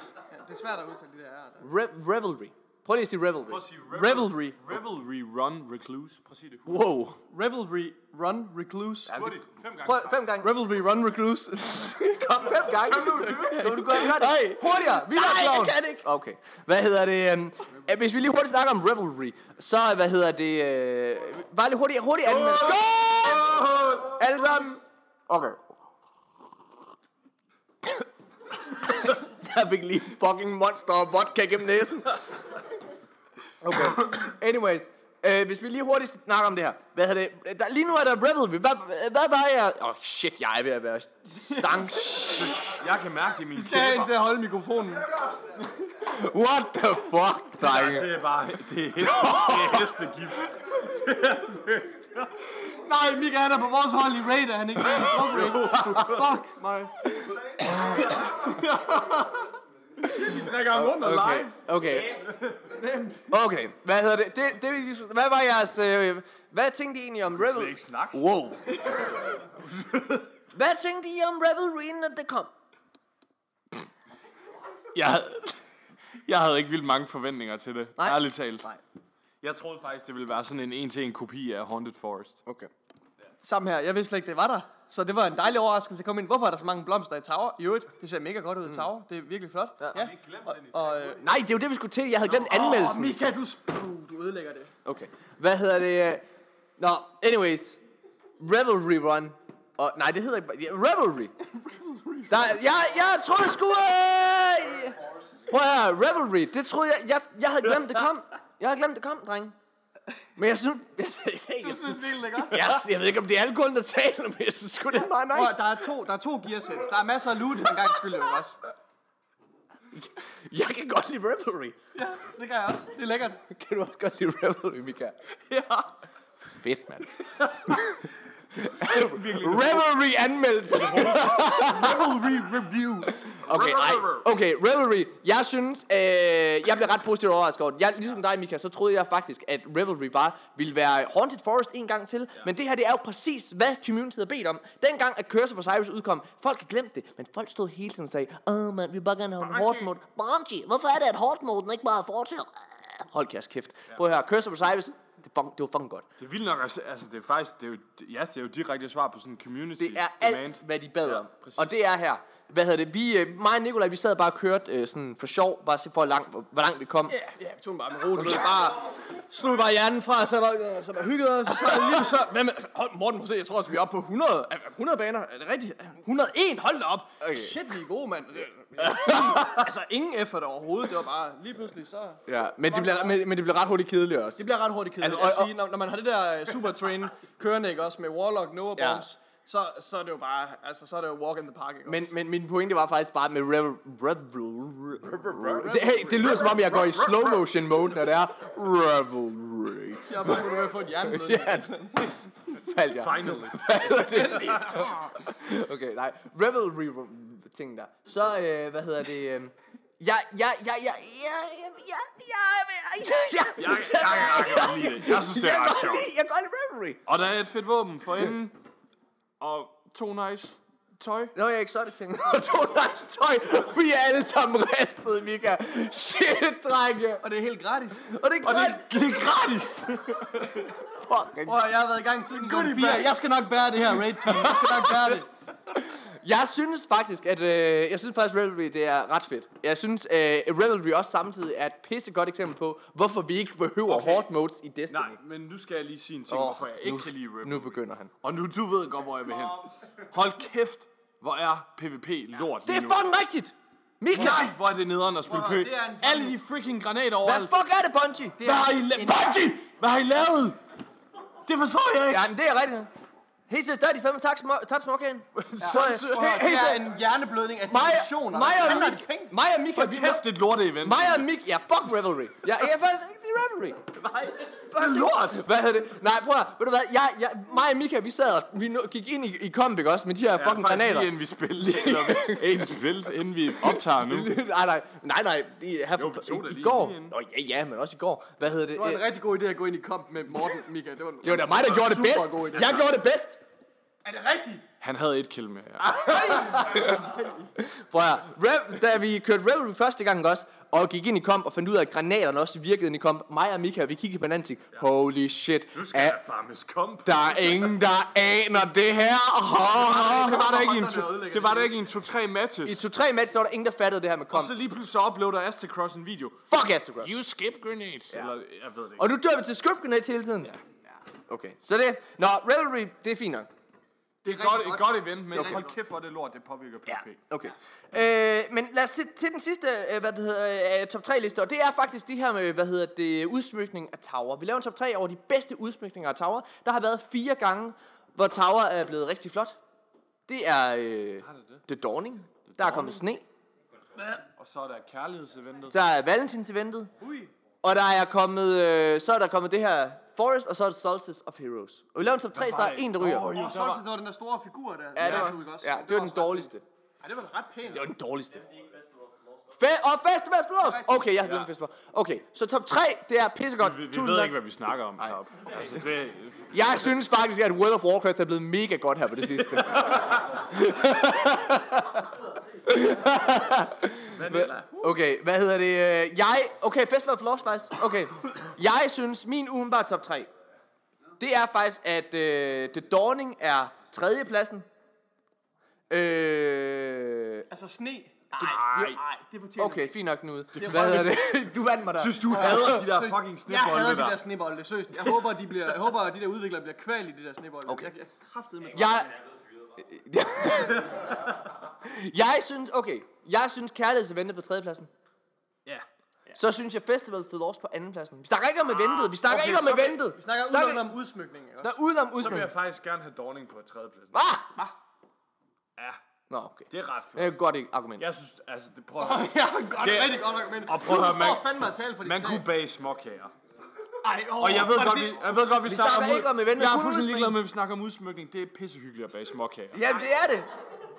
Speaker 6: er svært at udtale de der her.
Speaker 3: Mm.
Speaker 1: Re, revelry. Prøv lige at sige Revelry.
Speaker 2: Prøv at sige Revel-
Speaker 1: Revelry.
Speaker 2: Revelry Run Recluse. Prøv at sige det.
Speaker 1: Wow.
Speaker 6: Revelry, run, recluse.
Speaker 2: Hurtigt. Fem gange.
Speaker 1: Prøv, fem gange.
Speaker 6: Revelry, run, recluse.
Speaker 1: Kom, fem gange. Kan du godt gøre det? Nej. Hurtigere. Vi Nej, jeg kan ikke. Okay. Hvad hedder det? øhm, øh, hvis vi lige hurtigt snakker om Revelry, så øh, hvad hedder det? Øh, bare lige hurtigt. Hurtigt anden. Skål! Alle sammen. Okay. Der fik lige fucking monster og vodka gennem næsen. Okay. Anyways. Øh, hvis vi lige hurtigt snakker om det her. Hvad hedder det? Der, lige nu er der Revelry. Hvad, hvad var jeg? Åh, oh, shit, jeg er ved at være stank.
Speaker 2: Jeg kan mærke det i mine
Speaker 6: Jeg er en
Speaker 2: kæber.
Speaker 6: til at holde mikrofonen.
Speaker 1: What the fuck, drenge?
Speaker 2: Det er bare, det er hest- det er hestegift.
Speaker 6: Nej, Mika han er på vores hold i raid, er han ikke med i druk rate. Fuck mig.
Speaker 2: Snakker han rundt og
Speaker 1: Okay,
Speaker 2: live?
Speaker 1: okay. Okay, hvad hedder det? det, det vil sige- hvad var jeres... Øh, hvad tænkte I egentlig om
Speaker 2: Jeg vil
Speaker 1: Revel?
Speaker 2: ikke snakke.
Speaker 1: Wow. hvad tænkte I om Revelry, inden det kom?
Speaker 2: Jeg havde, jeg havde ikke vildt mange forventninger til det.
Speaker 1: Nej.
Speaker 2: Ærligt talt. Nej. Jeg troede faktisk, det ville være sådan en en-til-en kopi af Haunted Forest.
Speaker 1: Okay.
Speaker 3: Samme her. Jeg vidste slet ikke, det var der. Så det var en dejlig overraskelse at komme ind. Hvorfor er der så mange blomster i Tower? I øvrigt, det ser mega godt ud i Tower. Det er virkelig flot. Ja. ja. Og, og, øh,
Speaker 1: Nej, det er jo det, vi skulle til. Jeg havde glemt anmeldelsen.
Speaker 6: Mika, du, sp- uh, du ødelægger det.
Speaker 1: Okay. Hvad hedder det? øh? Nå, anyways. Revelry Run. Og, nej, det hedder ikke... ja, Revelry. Der, jeg, jeg troede sgu... Øh, prøv at høre, Revelry. Det troede jeg... Jeg, jeg havde glemt, det kom. Jeg havde glemt, det kom, dreng. Men jeg synes... <laughs> Jeg, jeg, jeg,
Speaker 6: Det
Speaker 1: synes
Speaker 6: er virkelig
Speaker 3: <laughs>
Speaker 6: lækkert.
Speaker 1: jeg, jeg ved ikke, om det er alkoholen, der taler, men jeg synes sgu, det er meget
Speaker 6: Prøv,
Speaker 1: nice.
Speaker 6: der er to, der er to gearsets. Der er masser af loot, en gang skyld jo også.
Speaker 1: Jeg kan godt lide Revelry.
Speaker 6: Ja, det gør jeg også. Det er lækkert.
Speaker 1: Kan du også godt lide Revelry, Mika? Ja. Fedt, mand. Revelry anmeldelse.
Speaker 2: Revelry review.
Speaker 1: Okay, ej. okay, Revelry. Jeg synes, øh, jeg blev ret positivt overrasket over den. Jeg, ligesom dig, Mika, så troede jeg faktisk, at Revelry bare ville være Haunted Forest en gang til. Ja. Men det her, det er jo præcis, hvad community havde bedt om. Dengang, at Curse for Cyrus udkom, folk har glemt det. Men folk stod hele tiden og sagde, åh mand, vi vil bare gerne have en hårdt mode. Bungie, hvorfor er det, at hårdt moden ikke bare fortsætter? Ah, Hold kæft kæft. Prøv at høre, Curse for Cyrus, det, fun, det var fucking godt.
Speaker 2: Det er vildt nok, altså, altså det er faktisk, det er jo, ja, det er jo direkte svar på sådan en community
Speaker 1: Det er alt,
Speaker 2: demand.
Speaker 1: hvad de bad
Speaker 2: Ja,
Speaker 1: om.
Speaker 2: præcis.
Speaker 1: og det er her. Hvad hedder det? Vi, øh, mig og Nikolaj, vi sad bare og kørte øh, sådan for sjov, bare se, hvor langt, hvor, hvor langt vi kom.
Speaker 3: Ja, ja, vi tog den bare med rodet, okay. bare slog vi bare hjernen fra, så var, så var hygget os, så var det lige så... Hvad med, hold, Morten, prøv at se, jeg tror også, vi er oppe på 100, Er- er 100 baner, er det rigtigt? 101, hold da op. Okay. Shit, vi er gode, mand.
Speaker 1: <laughs>
Speaker 3: Det- altså, ingen effort overhovedet, det var bare lige pludselig, så...
Speaker 1: Ja, men det, bliver, men, men det bliver ret hurtigt kedeligt også.
Speaker 3: Det bliver ret hurtigt kedeligt.
Speaker 1: Altså, og-
Speaker 3: Altså, sige, når, når man har det der øh, supertrain kørende, ikke også, med Warlock, Nova
Speaker 1: Ja.
Speaker 3: Bombs, så, så er det jo bare, altså, så er det jo walk in the park, ikke også?
Speaker 1: Men, men min pointe var faktisk bare med rev, rev, rev, det, hey, det lyder som om, jeg går i slow motion mode, når det er revelry.
Speaker 3: Jeg er bare kunne få et hjerneblød.
Speaker 1: <laughs> Ja, faldt jeg. <laughs>
Speaker 2: Finally.
Speaker 1: Okay, nej. Revelry ting der. Så, øh, hvad hedder det? Øh, jeg, jeg, jeg, jeg, jeg, jeg, jeg, jeg, jeg,
Speaker 2: Jeg, jeg, jeg, jeg kan godt lide det. Jeg synes, det er
Speaker 1: jeg, kan
Speaker 2: ret
Speaker 1: godt
Speaker 2: sjovt.
Speaker 1: lide- jeg kan godt lide Revelry.
Speaker 2: Og der er et fedt våben for enden. Og to nice tøj.
Speaker 1: Nå, jeg <laughs> er exotic ting. Og to nice tøj. Vi er alle sammen ristet, Mika. Shit, drenge.
Speaker 6: Og det er helt gratis.
Speaker 1: Og det er
Speaker 2: Og det,
Speaker 1: godt.
Speaker 2: det er gratis.
Speaker 1: Fucking.
Speaker 6: Prøv, at høre, jeg har været i gang siden klokken fire. Jeg skal nok bære det her raid team. Jeg skal nok bære det.
Speaker 1: Jeg synes faktisk, at øh, jeg synes faktisk, Revelry det er ret fedt. Jeg synes, øh, Revelry også samtidig er et pissegodt eksempel på, hvorfor vi ikke behøver okay. hard modes i Destiny.
Speaker 2: Nej, men nu skal jeg lige sige en ting,
Speaker 1: Åh,
Speaker 2: hvorfor jeg ikke
Speaker 1: nu-
Speaker 2: kan lide Ripple.
Speaker 1: Nu begynder han.
Speaker 2: Og nu, du ved godt, hvor jeg vil hen. Hold kæft, hvor er PvP lort
Speaker 1: Det
Speaker 2: lige
Speaker 1: er
Speaker 2: nu.
Speaker 1: fucking rigtigt! Mika!
Speaker 2: Nej, hvor er det nederen at spille
Speaker 6: Prøv,
Speaker 2: kø.
Speaker 6: det er en
Speaker 2: Alle de freaking granater
Speaker 1: Hvad
Speaker 2: overalt.
Speaker 1: fuck er det, Bungie?
Speaker 2: Hvad har I lavet? Bungie! Hvad har I lavet? Det forstår jeg ikke.
Speaker 1: Ja, men det er rigtigt. Helt seriøst, der er de fandme tak små- tabt småkagen. Så, øh,
Speaker 2: Sindssygt.
Speaker 1: he-
Speaker 6: Det
Speaker 1: helt
Speaker 6: er
Speaker 1: seriøst.
Speaker 6: en hjerneblødning af
Speaker 1: Mig,
Speaker 3: altså.
Speaker 6: dimensioner.
Speaker 1: mig, og
Speaker 6: Hvad har de
Speaker 1: Mik,
Speaker 6: tænkt?
Speaker 1: mig og Mika, vi
Speaker 2: Kæft, det er et lorte event.
Speaker 1: mig og Mik, ja, fuck Revelry. Jeg, jeg er faktisk ikke lide Revelry.
Speaker 2: Nej, det er lort.
Speaker 1: Hvad hedder det? Nej, prøv at, høre, ved du hvad, jeg, jeg, mig og Mika, vi sad og vi nå- gik ind i, i komp, ikke også, med de her
Speaker 2: Ja,
Speaker 1: fucking
Speaker 2: faktisk
Speaker 1: granater.
Speaker 2: lige inden vi spiller. Inden vi spiller, inden vi optager
Speaker 1: <laughs>
Speaker 2: nu.
Speaker 1: nej, nej, nej, nej, det er her
Speaker 2: Jo, vi tog det
Speaker 1: i, i
Speaker 2: lige
Speaker 1: går.
Speaker 2: inden.
Speaker 1: Nå, ja, ja, men også i går. Hvad hedder det?
Speaker 3: Det var en
Speaker 1: Øh,
Speaker 3: rigtig god idé at gå ind i kamp med Morten, Mika. Det var, en
Speaker 1: Det var da mig, der gjorde det
Speaker 3: super
Speaker 1: bedst.
Speaker 3: god idé.
Speaker 1: Jeg gjorde det bedst.
Speaker 6: Er det rigtigt?
Speaker 2: Han havde et kill med jer.
Speaker 1: Prøv at, høre, Rev, da vi kørte Revelry første gang ikke også, og gik ind i komp og fandt ud af, at granaterne også virkede ind i komp. Mig og Mika, vi kiggede på hinanden og tænkte, holy shit, er,
Speaker 2: farmes komp.
Speaker 1: der er ingen, der aner det her. Oh.
Speaker 2: Det var der ikke i en
Speaker 3: Hånderne
Speaker 2: to,
Speaker 3: ødelægger
Speaker 2: det var der ikke i en 2-3 matches.
Speaker 1: I to-tre matches, der var der ingen, der fattede det her med
Speaker 2: Og
Speaker 1: komp.
Speaker 2: så lige pludselig så uploader Astacross en video.
Speaker 1: Fuck Astagros.
Speaker 2: You skip grenades. Eller, jeg ved det ikke.
Speaker 1: Og nu dør vi til script grenades hele tiden. Okay, så det. Nå, Revelry, det er fint nok.
Speaker 2: Det er et godt, et godt event, men hold kæft hvor er det lort, det påvirker PvP.
Speaker 1: Okay. Øh, men lad os til, til den sidste øh, hvad det hedder, øh, top 3 liste, og det er faktisk det her med, hvad hedder det, udsmykning af Tower. Vi laver en top 3 over de bedste udsmykninger af Tower. Der har været fire gange, hvor Tower er blevet rigtig flot. Det er øh, The Dawning. Der er kommet sne.
Speaker 2: Og så er der kærlighedseventet.
Speaker 1: Der er Valentins eventet. Og der er kommet, øh, så er der kommet det her Forest, og så er det Solstice of Heroes. Og vi laver en top 3, så der er en, der ryger.
Speaker 2: Åh, jo,
Speaker 6: Og
Speaker 2: der
Speaker 6: så
Speaker 2: var-
Speaker 6: også, det var den der store figur der.
Speaker 1: Ja, det
Speaker 6: ud, ikke
Speaker 1: var,
Speaker 6: også?
Speaker 1: ja, det var den dårligste.
Speaker 6: Ja, det var da ret pænt.
Speaker 1: Det var den dårligste. Fe- og festival Lost! Okay, jeg havde glemt festival. Okay, så top 3, det er pissegodt.
Speaker 2: Vi, vi
Speaker 1: Tusind
Speaker 2: ved
Speaker 1: tak.
Speaker 2: ikke, hvad vi snakker om heroppe. Altså, det,
Speaker 1: Jeg synes faktisk, at World of Warcraft er blevet mega godt her på det
Speaker 2: <laughs>
Speaker 1: sidste. <laughs> okay, hvad hedder det? Øh, Jeg... Okay, festival Lost faktisk. Okay. Jeg synes, min udenbare top 3, det er faktisk, at øh, The Dawning er tredjepladsen. Øh,
Speaker 6: Altså sne. Nej, nej, det fortjener
Speaker 1: okay, fint nok, Knud. Hvad hedder det? <laughs> Du vandt mig der.
Speaker 2: synes du hader de der fucking
Speaker 6: Jeg hader
Speaker 2: snebolde
Speaker 6: de
Speaker 2: der?
Speaker 6: der snebolde, seriøst. Jeg håber, de bliver, jeg håber, at de der udviklere bliver kval i de der snebolde. Okay. Jeg, jeg er kraftedeme med
Speaker 1: Jeg... <laughs> jeg synes, okay. Jeg synes, kærlighedseventet på tredjepladsen.
Speaker 2: Ja. Ah,
Speaker 1: Så synes jeg, Festival Fed Lost på andenpladsen. Vi snakker ikke om eventet. Vi snakker
Speaker 2: okay,
Speaker 1: ikke om
Speaker 2: så vi-
Speaker 1: eventet.
Speaker 6: Vi snakker udelukkende om udsmykning, ikke også?
Speaker 1: Der udenom
Speaker 2: Så vil
Speaker 1: udsmykning.
Speaker 2: jeg faktisk gerne have Dawning på tredjepladsen.
Speaker 1: Ah!
Speaker 2: Ja,
Speaker 1: Nå, okay.
Speaker 2: det er ret
Speaker 1: Det er
Speaker 2: flot.
Speaker 1: et godt argument.
Speaker 2: Jeg synes, altså, det prøver
Speaker 6: Ja, godt,
Speaker 2: Det-
Speaker 6: rigtig godt nok, men
Speaker 2: Og prøv at høre,
Speaker 6: man...
Speaker 2: man-
Speaker 6: fandme at tale for dit
Speaker 2: Man
Speaker 6: sag.
Speaker 2: kunne bage småkager.
Speaker 6: Ej, åh,
Speaker 2: Og jeg ved
Speaker 6: og
Speaker 2: godt,
Speaker 6: det-
Speaker 2: vi, jeg ved godt, vi,
Speaker 1: snakker
Speaker 2: ud-
Speaker 1: ikke om event, men
Speaker 2: Jeg er
Speaker 1: kun
Speaker 2: fuldstændig
Speaker 1: udsmykning.
Speaker 2: ligeglad med, at vi snakker om udsmykning. Det er pissehyggeligt at bage småkager.
Speaker 1: <laughs> Jamen, det er det.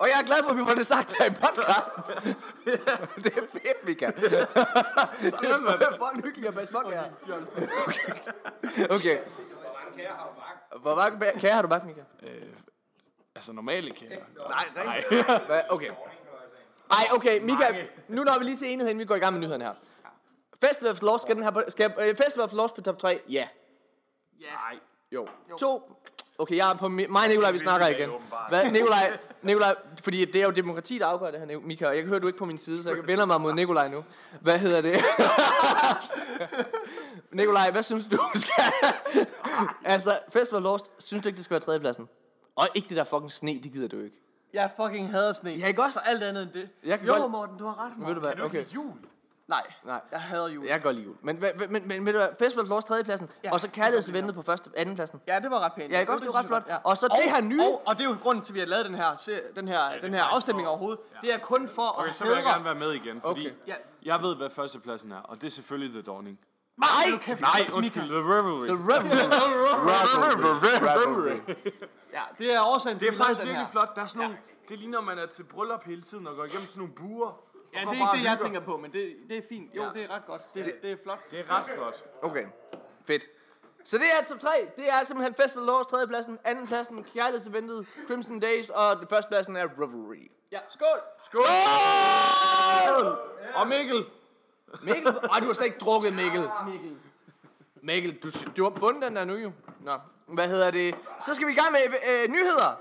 Speaker 1: Og jeg er glad for, at vi får det sagt her i podcasten. <laughs> det er fedt, vi
Speaker 2: <laughs>
Speaker 1: kan. det er fucking hyggeligt at bage smuk her. Okay. Hvor mange ba- kager har du bagt, Michael?
Speaker 2: Altså normale kager.
Speaker 1: Nej, rigtigt. <laughs> Hvad? Okay. Ej, okay, Michael, nu når vi lige til enighed, inden vi går i gang med nyhederne her. Festival of Lost, skal den her på, skal, øh, Festival of Lost på top 3? Ja.
Speaker 2: Nej.
Speaker 1: Jo. To. Okay, jeg er på mi- mig og Nikolaj, vi snakker
Speaker 2: Nikolaj,
Speaker 1: igen.
Speaker 2: åbenbart.
Speaker 1: Hvad, Nikolaj, Nikolaj, fordi det er jo demokrati, der afgør det her, Nik- Michael. Jeg kan høre, du er ikke på min side, så jeg vender mig mod Nikolaj nu. Hvad hedder det? <laughs> Nikolaj, hvad synes du, skal... altså, Festival of Lost, synes du ikke, det skal være tredjepladsen? Og ikke det der fucking sne, det gider du ikke.
Speaker 3: Jeg fucking hader sne.
Speaker 1: Ja, ikke også?
Speaker 3: Så alt andet end det.
Speaker 1: Jeg kan
Speaker 3: jo,
Speaker 1: godt-
Speaker 3: Morten, du har ret,
Speaker 1: Ved
Speaker 3: Morten.
Speaker 1: du hvad? Okay.
Speaker 6: Jul.
Speaker 3: Nej,
Speaker 1: Nej.
Speaker 3: jeg hader jul.
Speaker 1: Jeg kan godt lide jul. Men, men, men, men, men Festival of Lost tredjepladsen, ja,
Speaker 3: Ja,
Speaker 1: og så kærlighedsventet på første, andenpladsen.
Speaker 3: Ja, det var ret pænt.
Speaker 1: Ja, ikke også? Det var ret
Speaker 3: synes jeg
Speaker 1: flot.
Speaker 3: godt,
Speaker 1: Og så det her nye-
Speaker 3: Og, og det er jo grunden til, at vi har lavet den her, se- den her, den her afstemning overhovedet. Det er kun for
Speaker 2: Okay,
Speaker 3: at
Speaker 2: så vil jeg gerne
Speaker 3: hedre...
Speaker 2: være med igen, fordi
Speaker 1: Okay.
Speaker 3: Ja.
Speaker 2: jeg ved, hvad førstepladsen er, og det er selvfølgelig The Dawning.
Speaker 1: Nej!
Speaker 2: Nej, undskyld, The Revelry.
Speaker 1: The Revenue.
Speaker 3: Ja, det er årsagen til,
Speaker 2: Det er
Speaker 3: at vi
Speaker 2: faktisk
Speaker 3: lavede den
Speaker 2: virkelig
Speaker 3: her.
Speaker 2: flot. Der er sådan nogle, det ligner, man er til bryllup hele tiden og går igennem sådan nogle buer.
Speaker 3: Ja, det er ikke det, jeg tænker på, men det, det er fint. Jo,
Speaker 2: Ja.
Speaker 3: det er ret godt. Det, det er flot.
Speaker 2: Det er ret flot.
Speaker 1: Okay, fedt. Så det er top 3. Det er simpelthen Festival Laws, tredjepladsen, andenpladsen, kærlighedsventet, Crimson Days, og førstepladsen er Revelry.
Speaker 3: Ja, skål!
Speaker 2: Skål! Og Mikkel!
Speaker 1: Mikkel, ej, du har slet ikke drukket, Mikkel. Mikkel, du, du har bundet den der nu jo. Nå, hvad hedder det? Så skal vi i gang med øh, nyheder.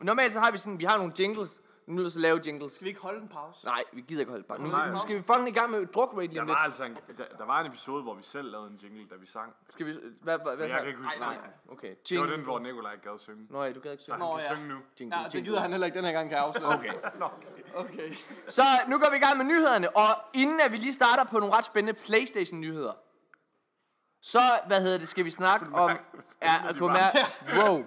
Speaker 1: Normalt så har vi sådan, vi har nogle jingles. Nu er vi nødt til at lave jingles.
Speaker 3: Skal vi ikke holde en pause?
Speaker 1: Nej, vi gider ikke holde bare.
Speaker 2: Nej.
Speaker 1: Nu, nu skal vi fucking i gang med drukrate lige
Speaker 2: Der
Speaker 1: om
Speaker 2: var,
Speaker 1: lidt.
Speaker 2: altså en, der, der var en episode, hvor vi selv lavede en jingle, da vi sang.
Speaker 1: Skal vi... Hvad, hvad, hvad
Speaker 2: jeg kan ikke huske
Speaker 1: Nej,
Speaker 2: sangen.
Speaker 1: okay.
Speaker 2: Det
Speaker 1: Jingle.
Speaker 2: var den, hvor Nikolaj ikke gad synge.
Speaker 1: Nå ja, du gad ikke synge.
Speaker 2: Han
Speaker 3: Nå,
Speaker 2: kan
Speaker 3: ja.
Speaker 2: synge nu.
Speaker 1: Jingle,
Speaker 3: Ja, det gider han heller ikke den her gang, kan jeg afsløre. <laughs> Okay.
Speaker 2: Nå, okay.
Speaker 3: okay.
Speaker 1: Så nu går vi i gang med nyhederne, og inden at vi lige starter på nogle ret spændende Playstation-nyheder, så, hvad hedder det, skal vi snakke om... Ja, at kunne mærke... Wow.
Speaker 3: <laughs>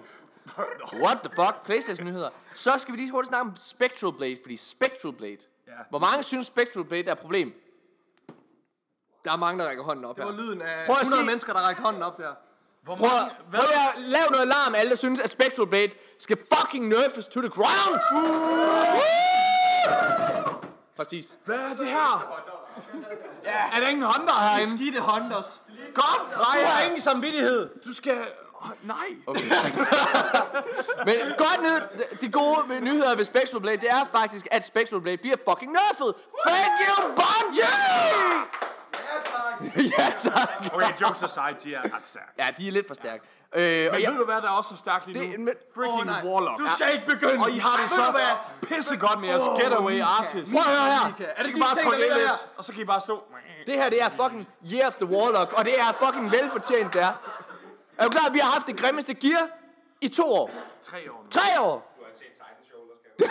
Speaker 1: What the fuck? Playstation-nyheder. Så skal vi lige hurtigt snakke om Spectral Blade, fordi Spectral Blade...
Speaker 2: Ja.
Speaker 1: Hvor mange synes Spectral Blade er et problem? Der er mange, der rækker hånden op
Speaker 3: Det var lyden af
Speaker 1: Prøv at
Speaker 3: 100
Speaker 1: sige-
Speaker 3: mennesker, der rækker hånden op der.
Speaker 2: Hvor
Speaker 1: Prøv,
Speaker 2: mange,
Speaker 1: at- prøv at lave noget larm, alle der synes, at Spectral Blade skal fucking nerfes to the ground! Præcis.
Speaker 2: hvad er det her? Er der ingen Honda herinde?
Speaker 3: Skidte Hondas.
Speaker 2: Godt,
Speaker 3: Jeg
Speaker 2: Freja!
Speaker 3: har ingen samvittighed.
Speaker 2: Du skal... Åh, Nej! Okay.
Speaker 1: Men godt nyt, de gode ved- nyheder ved Spectral Blade, det er faktisk, at Spectral Blade bliver fucking nerfed. Thank you, Bungie! <laughs> Ja, tak.
Speaker 2: okay, jokes aside, de er ret stærke.
Speaker 1: Ja, de er lidt for stærke. Øh, og
Speaker 2: Men
Speaker 1: jeg,
Speaker 2: ved du hvad, der er også så stærkt lige nu?
Speaker 1: Det- men-
Speaker 2: Freaking
Speaker 3: Åh, nej.
Speaker 2: Warlock.
Speaker 3: Du skal ikke begynde.
Speaker 2: Og I har det
Speaker 3: Ved
Speaker 2: så
Speaker 3: du hvad?
Speaker 2: pissegodt med jeres getaway artist.
Speaker 1: prøv at høre her.
Speaker 3: Mika,
Speaker 2: Er det
Speaker 3: de
Speaker 2: ikke bare
Speaker 3: ting,
Speaker 2: trykke
Speaker 3: der ligger
Speaker 2: lidt, og så kan I bare stå...
Speaker 1: Det her, det er fucking Year of the Warlock, og det er fucking velfortjent, det er. Er du klar, at vi har haft det grimmeste gear i to år?
Speaker 2: Tre år nu.
Speaker 1: Tre år!
Speaker 2: <laughs>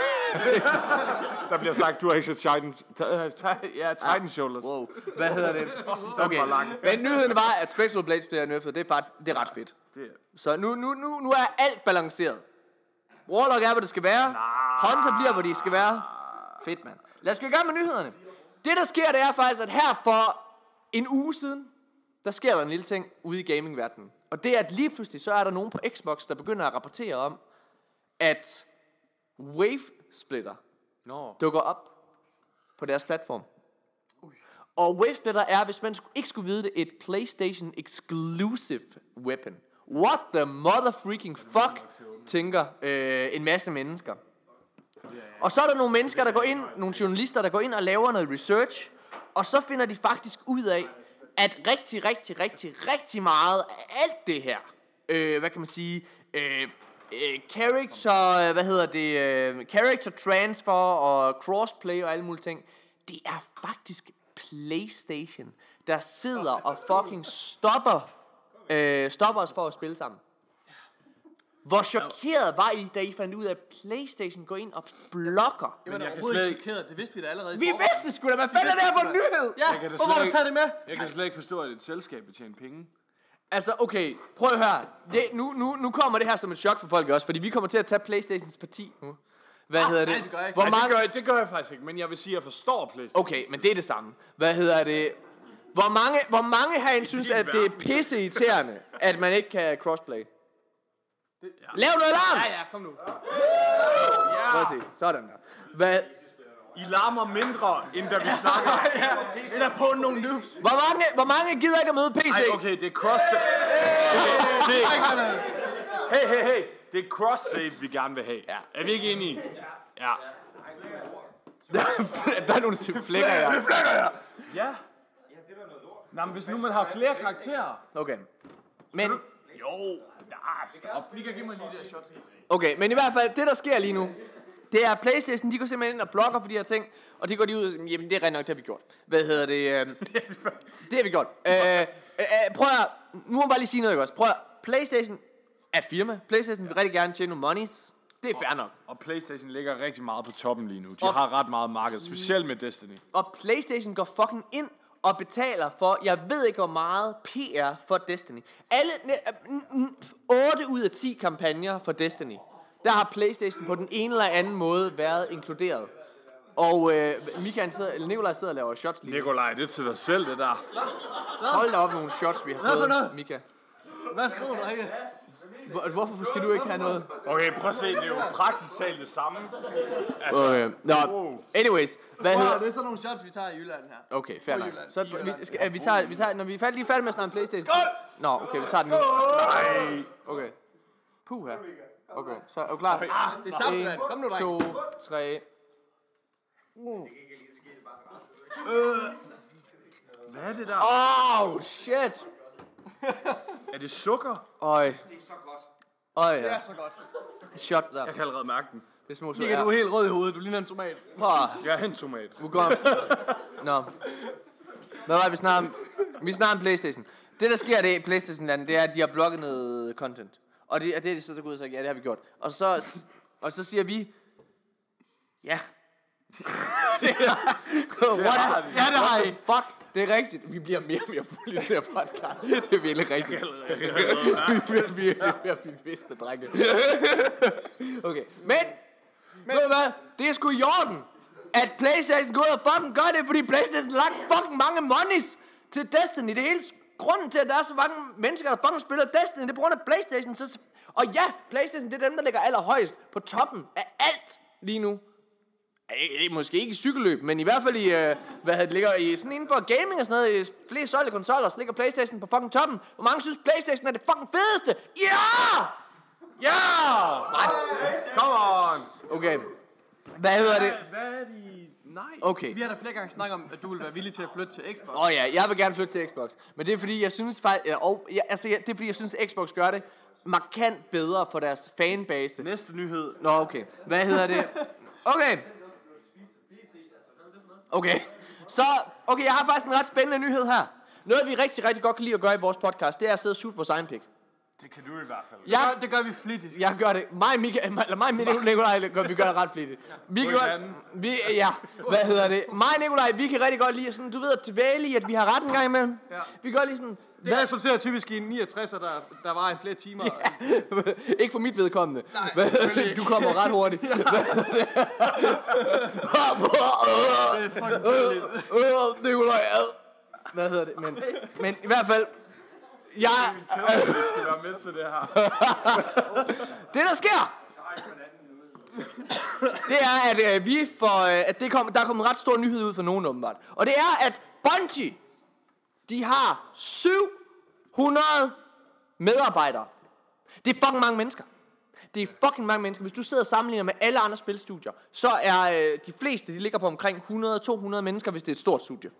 Speaker 2: Der bliver sagt, du har ikke set Titans... øh, Ja, Titan Shoulders.
Speaker 1: Wow, hvad hedder det? Okay,
Speaker 2: var lang.
Speaker 1: men nyheden var, at Spectral Blades bliver nerfed. Det er, fakt, det er ret fedt.
Speaker 2: Det er-
Speaker 1: Så nu, nu, nu, nu er alt balanceret. Warlock er, hvor det skal være. Hunter bliver, hvor de skal være. Fedt, mand. Lad os gå i gang med nyhederne. Det, der sker, det er faktisk, at her for en uge siden, der sker der en lille ting ude i gamingverdenen. Og det er, at lige pludselig, så er der nogen på Xbox, der begynder at rapportere om, at Wave Splitter
Speaker 2: Nå.
Speaker 1: dukker op på deres platform. Og Wavesplitter er, hvis man sku- ikke skulle vide det, et PlayStation exclusive weapon. What the mother freaking fuck, tænker øh, en masse mennesker. Og så er der nogle mennesker, der går ind, nogle journalister, der går ind og laver noget research, og så finder de faktisk ud af, at rigtig, rigtig, rigtig, rigtig meget af alt det her, øh, hvad kan man sige, øh, øh, character, øh, hvad hedder det, øh, character transfer og crossplay og alle mulige ting, det er faktisk PlayStation, der sidder og fucking stopper, øh, stopper os for at spille sammen. Hvor chokeret var I, da I fandt ud af, at PlayStation går ind og blokker?
Speaker 3: Det var da
Speaker 2: jeg kan
Speaker 3: overhovedet
Speaker 2: slet
Speaker 3: ikke chokeret. Det vidste vi da allerede. i
Speaker 1: Vi
Speaker 3: forvejen.
Speaker 1: vidste sgu da, hvad fanden er det her for en nyhed?
Speaker 3: Ja,
Speaker 2: kan da
Speaker 3: hvorfor har
Speaker 2: slet
Speaker 3: du
Speaker 2: ikke-
Speaker 3: taget det med?
Speaker 2: Jeg kan slet ikke forstå, at et selskab vil tjene penge.
Speaker 1: Altså, okay, prøv at høre. Det, nu, nu, nu kommer det her som et chok for folk også, fordi vi kommer til at tage Playstations parti nu. Hvad ah, hedder det?
Speaker 3: nej, det gør jeg ikke.
Speaker 1: Hvor
Speaker 2: Nej, det
Speaker 1: mange...
Speaker 2: gør, jeg, det gør jeg faktisk ikke, men jeg vil sige, at jeg forstår PlayStation.
Speaker 1: Okay, men det er det samme. Hvad hedder det? Hvor mange, hvor mange herinde synes, at det er pisseirriterende, at man ikke kan crossplay? Lav noget larm!
Speaker 3: Ja, ja, kom nu.
Speaker 1: Præcis, sådan der. Hvad,
Speaker 2: I larmer mindre, end da vi snakker.
Speaker 3: Det er på nogle noobs.
Speaker 1: hvor, mange, hvor mange gider ikke at møde PC?
Speaker 2: Ej, okay, det er cross save. Det, det, hey, hey, hey. Det er cross save, vi gerne vil have. Ja. Er vi ikke enige? Ja.
Speaker 1: <laughs> der er nogle til flækker, ja.
Speaker 2: Ja. Nå, men hvis nu man har flere karakterer.
Speaker 1: Okay. Men,
Speaker 2: Jo. Nej, stop.
Speaker 3: Vi kan give mig lige det her shot.
Speaker 1: okay, men i hvert fald, det der sker lige nu, det er at Playstation, de går simpelthen ind og blokker for de her ting, og det går de ud og siger, jamen det er rent nok, det har vi gjort. Hvad hedder det?
Speaker 3: <laughs>
Speaker 1: øhm, Det har vi gjort. Øh, øh, øh, prøv at, høre. nu må jeg bare lige sige noget, ikke også? Prøv at, høre. Playstation er et firma. Playstation vil rigtig gerne tjene nogle monies. Det er fair nok.
Speaker 2: Og Playstation ligger rigtig meget på toppen lige nu. De har ret meget marked, specielt med Destiny.
Speaker 1: Og Playstation går fucking ind og betaler for, jeg ved ikke hvor meget PR for Destiny. Alle, ne, øh, 8 ud af 10 kampagner for Destiny, der har Playstation på den ene eller anden måde været inkluderet. Og øh, Mikael sidder, eller Nikolaj sidder og laver shots lige nu.
Speaker 2: Nikolaj, det er til dig selv, det der.
Speaker 1: Hold da op nogle shots, vi har
Speaker 6: for
Speaker 1: fået,
Speaker 6: noget?
Speaker 1: Mika.
Speaker 6: Værsgo, drenge.
Speaker 1: Hvor, hvorfor skal du ikke have noget?
Speaker 2: Okay, prøv at se, det er jo praktisk talt det samme.
Speaker 1: Okay. Nå, anyways. Hvad
Speaker 6: Wow,
Speaker 1: hedder,
Speaker 6: det er sådan nogle shots, vi tager i Jylland her.
Speaker 1: Okay, fair nok.
Speaker 6: Jylland.
Speaker 1: Så vi, skal, øh, vi tager, vi tager, når vi er færdige, lige færdige med at snakke om Playstation. Nå, okay, vi tager den nu.
Speaker 2: Ej.
Speaker 1: Okay. Puh her. Okay, så er du klar?
Speaker 6: Det er saftevand. Kom nu, drenge.
Speaker 1: To, tre.
Speaker 2: Hvad er det der?
Speaker 1: Oh, shit.
Speaker 2: Er det sukker?
Speaker 1: Øj. Øj, ja.
Speaker 6: Så godt.
Speaker 1: Shot der.
Speaker 2: Jeg kan allerede mærke den.
Speaker 1: Det er små så
Speaker 3: Mika,
Speaker 1: er.
Speaker 3: du er helt rød i hovedet. Du ligner en tomat.
Speaker 1: Åh,
Speaker 2: Jeg er en tomat.
Speaker 1: nu går Nå. Hvad var det, vi snakker om? Vi snakker om Playstation. Det, der sker det i playstation landet det er, at de har blokket noget content. Og det, og det er de så så gået ud og sagt, ja, det har vi gjort. Og så, og så siger vi, ja. <laughs> det er, what, ja, det har I. Fuck, det er rigtigt. Vi bliver mere og mere fulde i det her podcast. Det er virkelig rigtigt. <laughs> vi bliver virkelig mere bevidste, drenge. okay, men, men ved du hvad? Det er sgu i orden, at Playstation går ud og fucking gør det, fordi Playstation har lagt fucking mange monies til Destiny. Det er hele grunden til, at der er så mange mennesker, der fucking spiller Destiny. Det er på grund af Playstation. Så, og ja, Playstation, det er dem, der ligger allerhøjst på toppen af alt lige nu. Ej, Måske ikke i cykelløb, men i hvert fald i, øh, hvad hedder det, ligger i sådan inden for gaming og sådan noget, i flere solgte konsoller, så ligger Playstation på fucking toppen. Hvor mange synes, Playstation er det fucking fedeste? Ja!
Speaker 2: Ja! Come on!
Speaker 1: Okay. Hvad hedder det?
Speaker 2: Hvad er de? Nej.
Speaker 1: Okay.
Speaker 6: Vi har da flere gange snakket om, at du vil være villig til at flytte til Xbox.
Speaker 1: Åh oh, ja, jeg vil gerne flytte til Xbox. Men det er fordi, jeg synes faktisk... ja, Og, jeg, altså, jeg, det er fordi, jeg synes, Xbox gør det markant bedre for deres fanbase.
Speaker 2: Næste nyhed.
Speaker 1: Nå, okay. Hvad hedder det? Okay. Okay. Så, okay, jeg har faktisk en ret spændende nyhed her. Noget, vi rigtig, rigtig godt kan lide at gøre i vores podcast, det er at sidde og sutte vores egen pik.
Speaker 2: Det kan du i hvert fald.
Speaker 1: Jeg,
Speaker 6: Det gør vi flittigt.
Speaker 1: jeg gør det. Mig, Mika, eller mig, Mika, Nikolaj, gør- vi gør det ret flittigt. Vi kan godt,
Speaker 2: hinanden.
Speaker 1: vi, ja, hvad hedder det? Mig og Nikolaj, vi kan rigtig godt lide sådan, du ved, at dvæle i, at vi har ret en gang imellem. Ja. Vi gør lige sådan,
Speaker 6: Det
Speaker 1: hvad,
Speaker 6: resulterer typisk i en 69'er, der, der var i flere timer.
Speaker 1: ikke for mit vedkommende. Nej, hvad, du kommer ret hurtigt. Hvad hedder det? Øh, øh, Nikolaj, ad. Hvad hedder det? Men, men i hvert fald, jeg,
Speaker 2: Jeg skal være med til det <laughs> her.
Speaker 1: Det der sker Det er at øh, vi får øh, at det kom, Der er kommet en ret stor nyhed ud for nogen åbenbart Og det er at Bungie De har 700 medarbejdere Det er fucking mange mennesker det er fucking mange mennesker. Hvis du sidder og sammenligner med alle andre spilstudier, så er øh, de fleste, de ligger på omkring 100-200 mennesker, hvis det er et stort studie.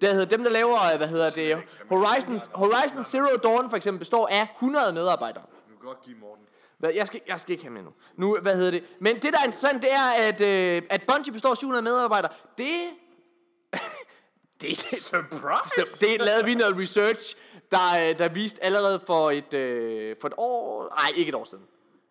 Speaker 1: Der hedder dem, der laver, øh, hvad hedder det, Horizon, Horizon Zero Dawn for eksempel, består af 100 medarbejdere.
Speaker 2: Du kan godt give Morten.
Speaker 1: Hvad, jeg, skal, jeg skal ikke have med nu. nu. Hvad hedder det? Men det, der er interessant, det er, at, øh, at Bungie består af 700 medarbejdere. Det... <laughs> det,
Speaker 2: Surprise!
Speaker 1: det lavede vi noget research, der, øh, der viste allerede for et, øh, for et år... Nej, ikke et år siden.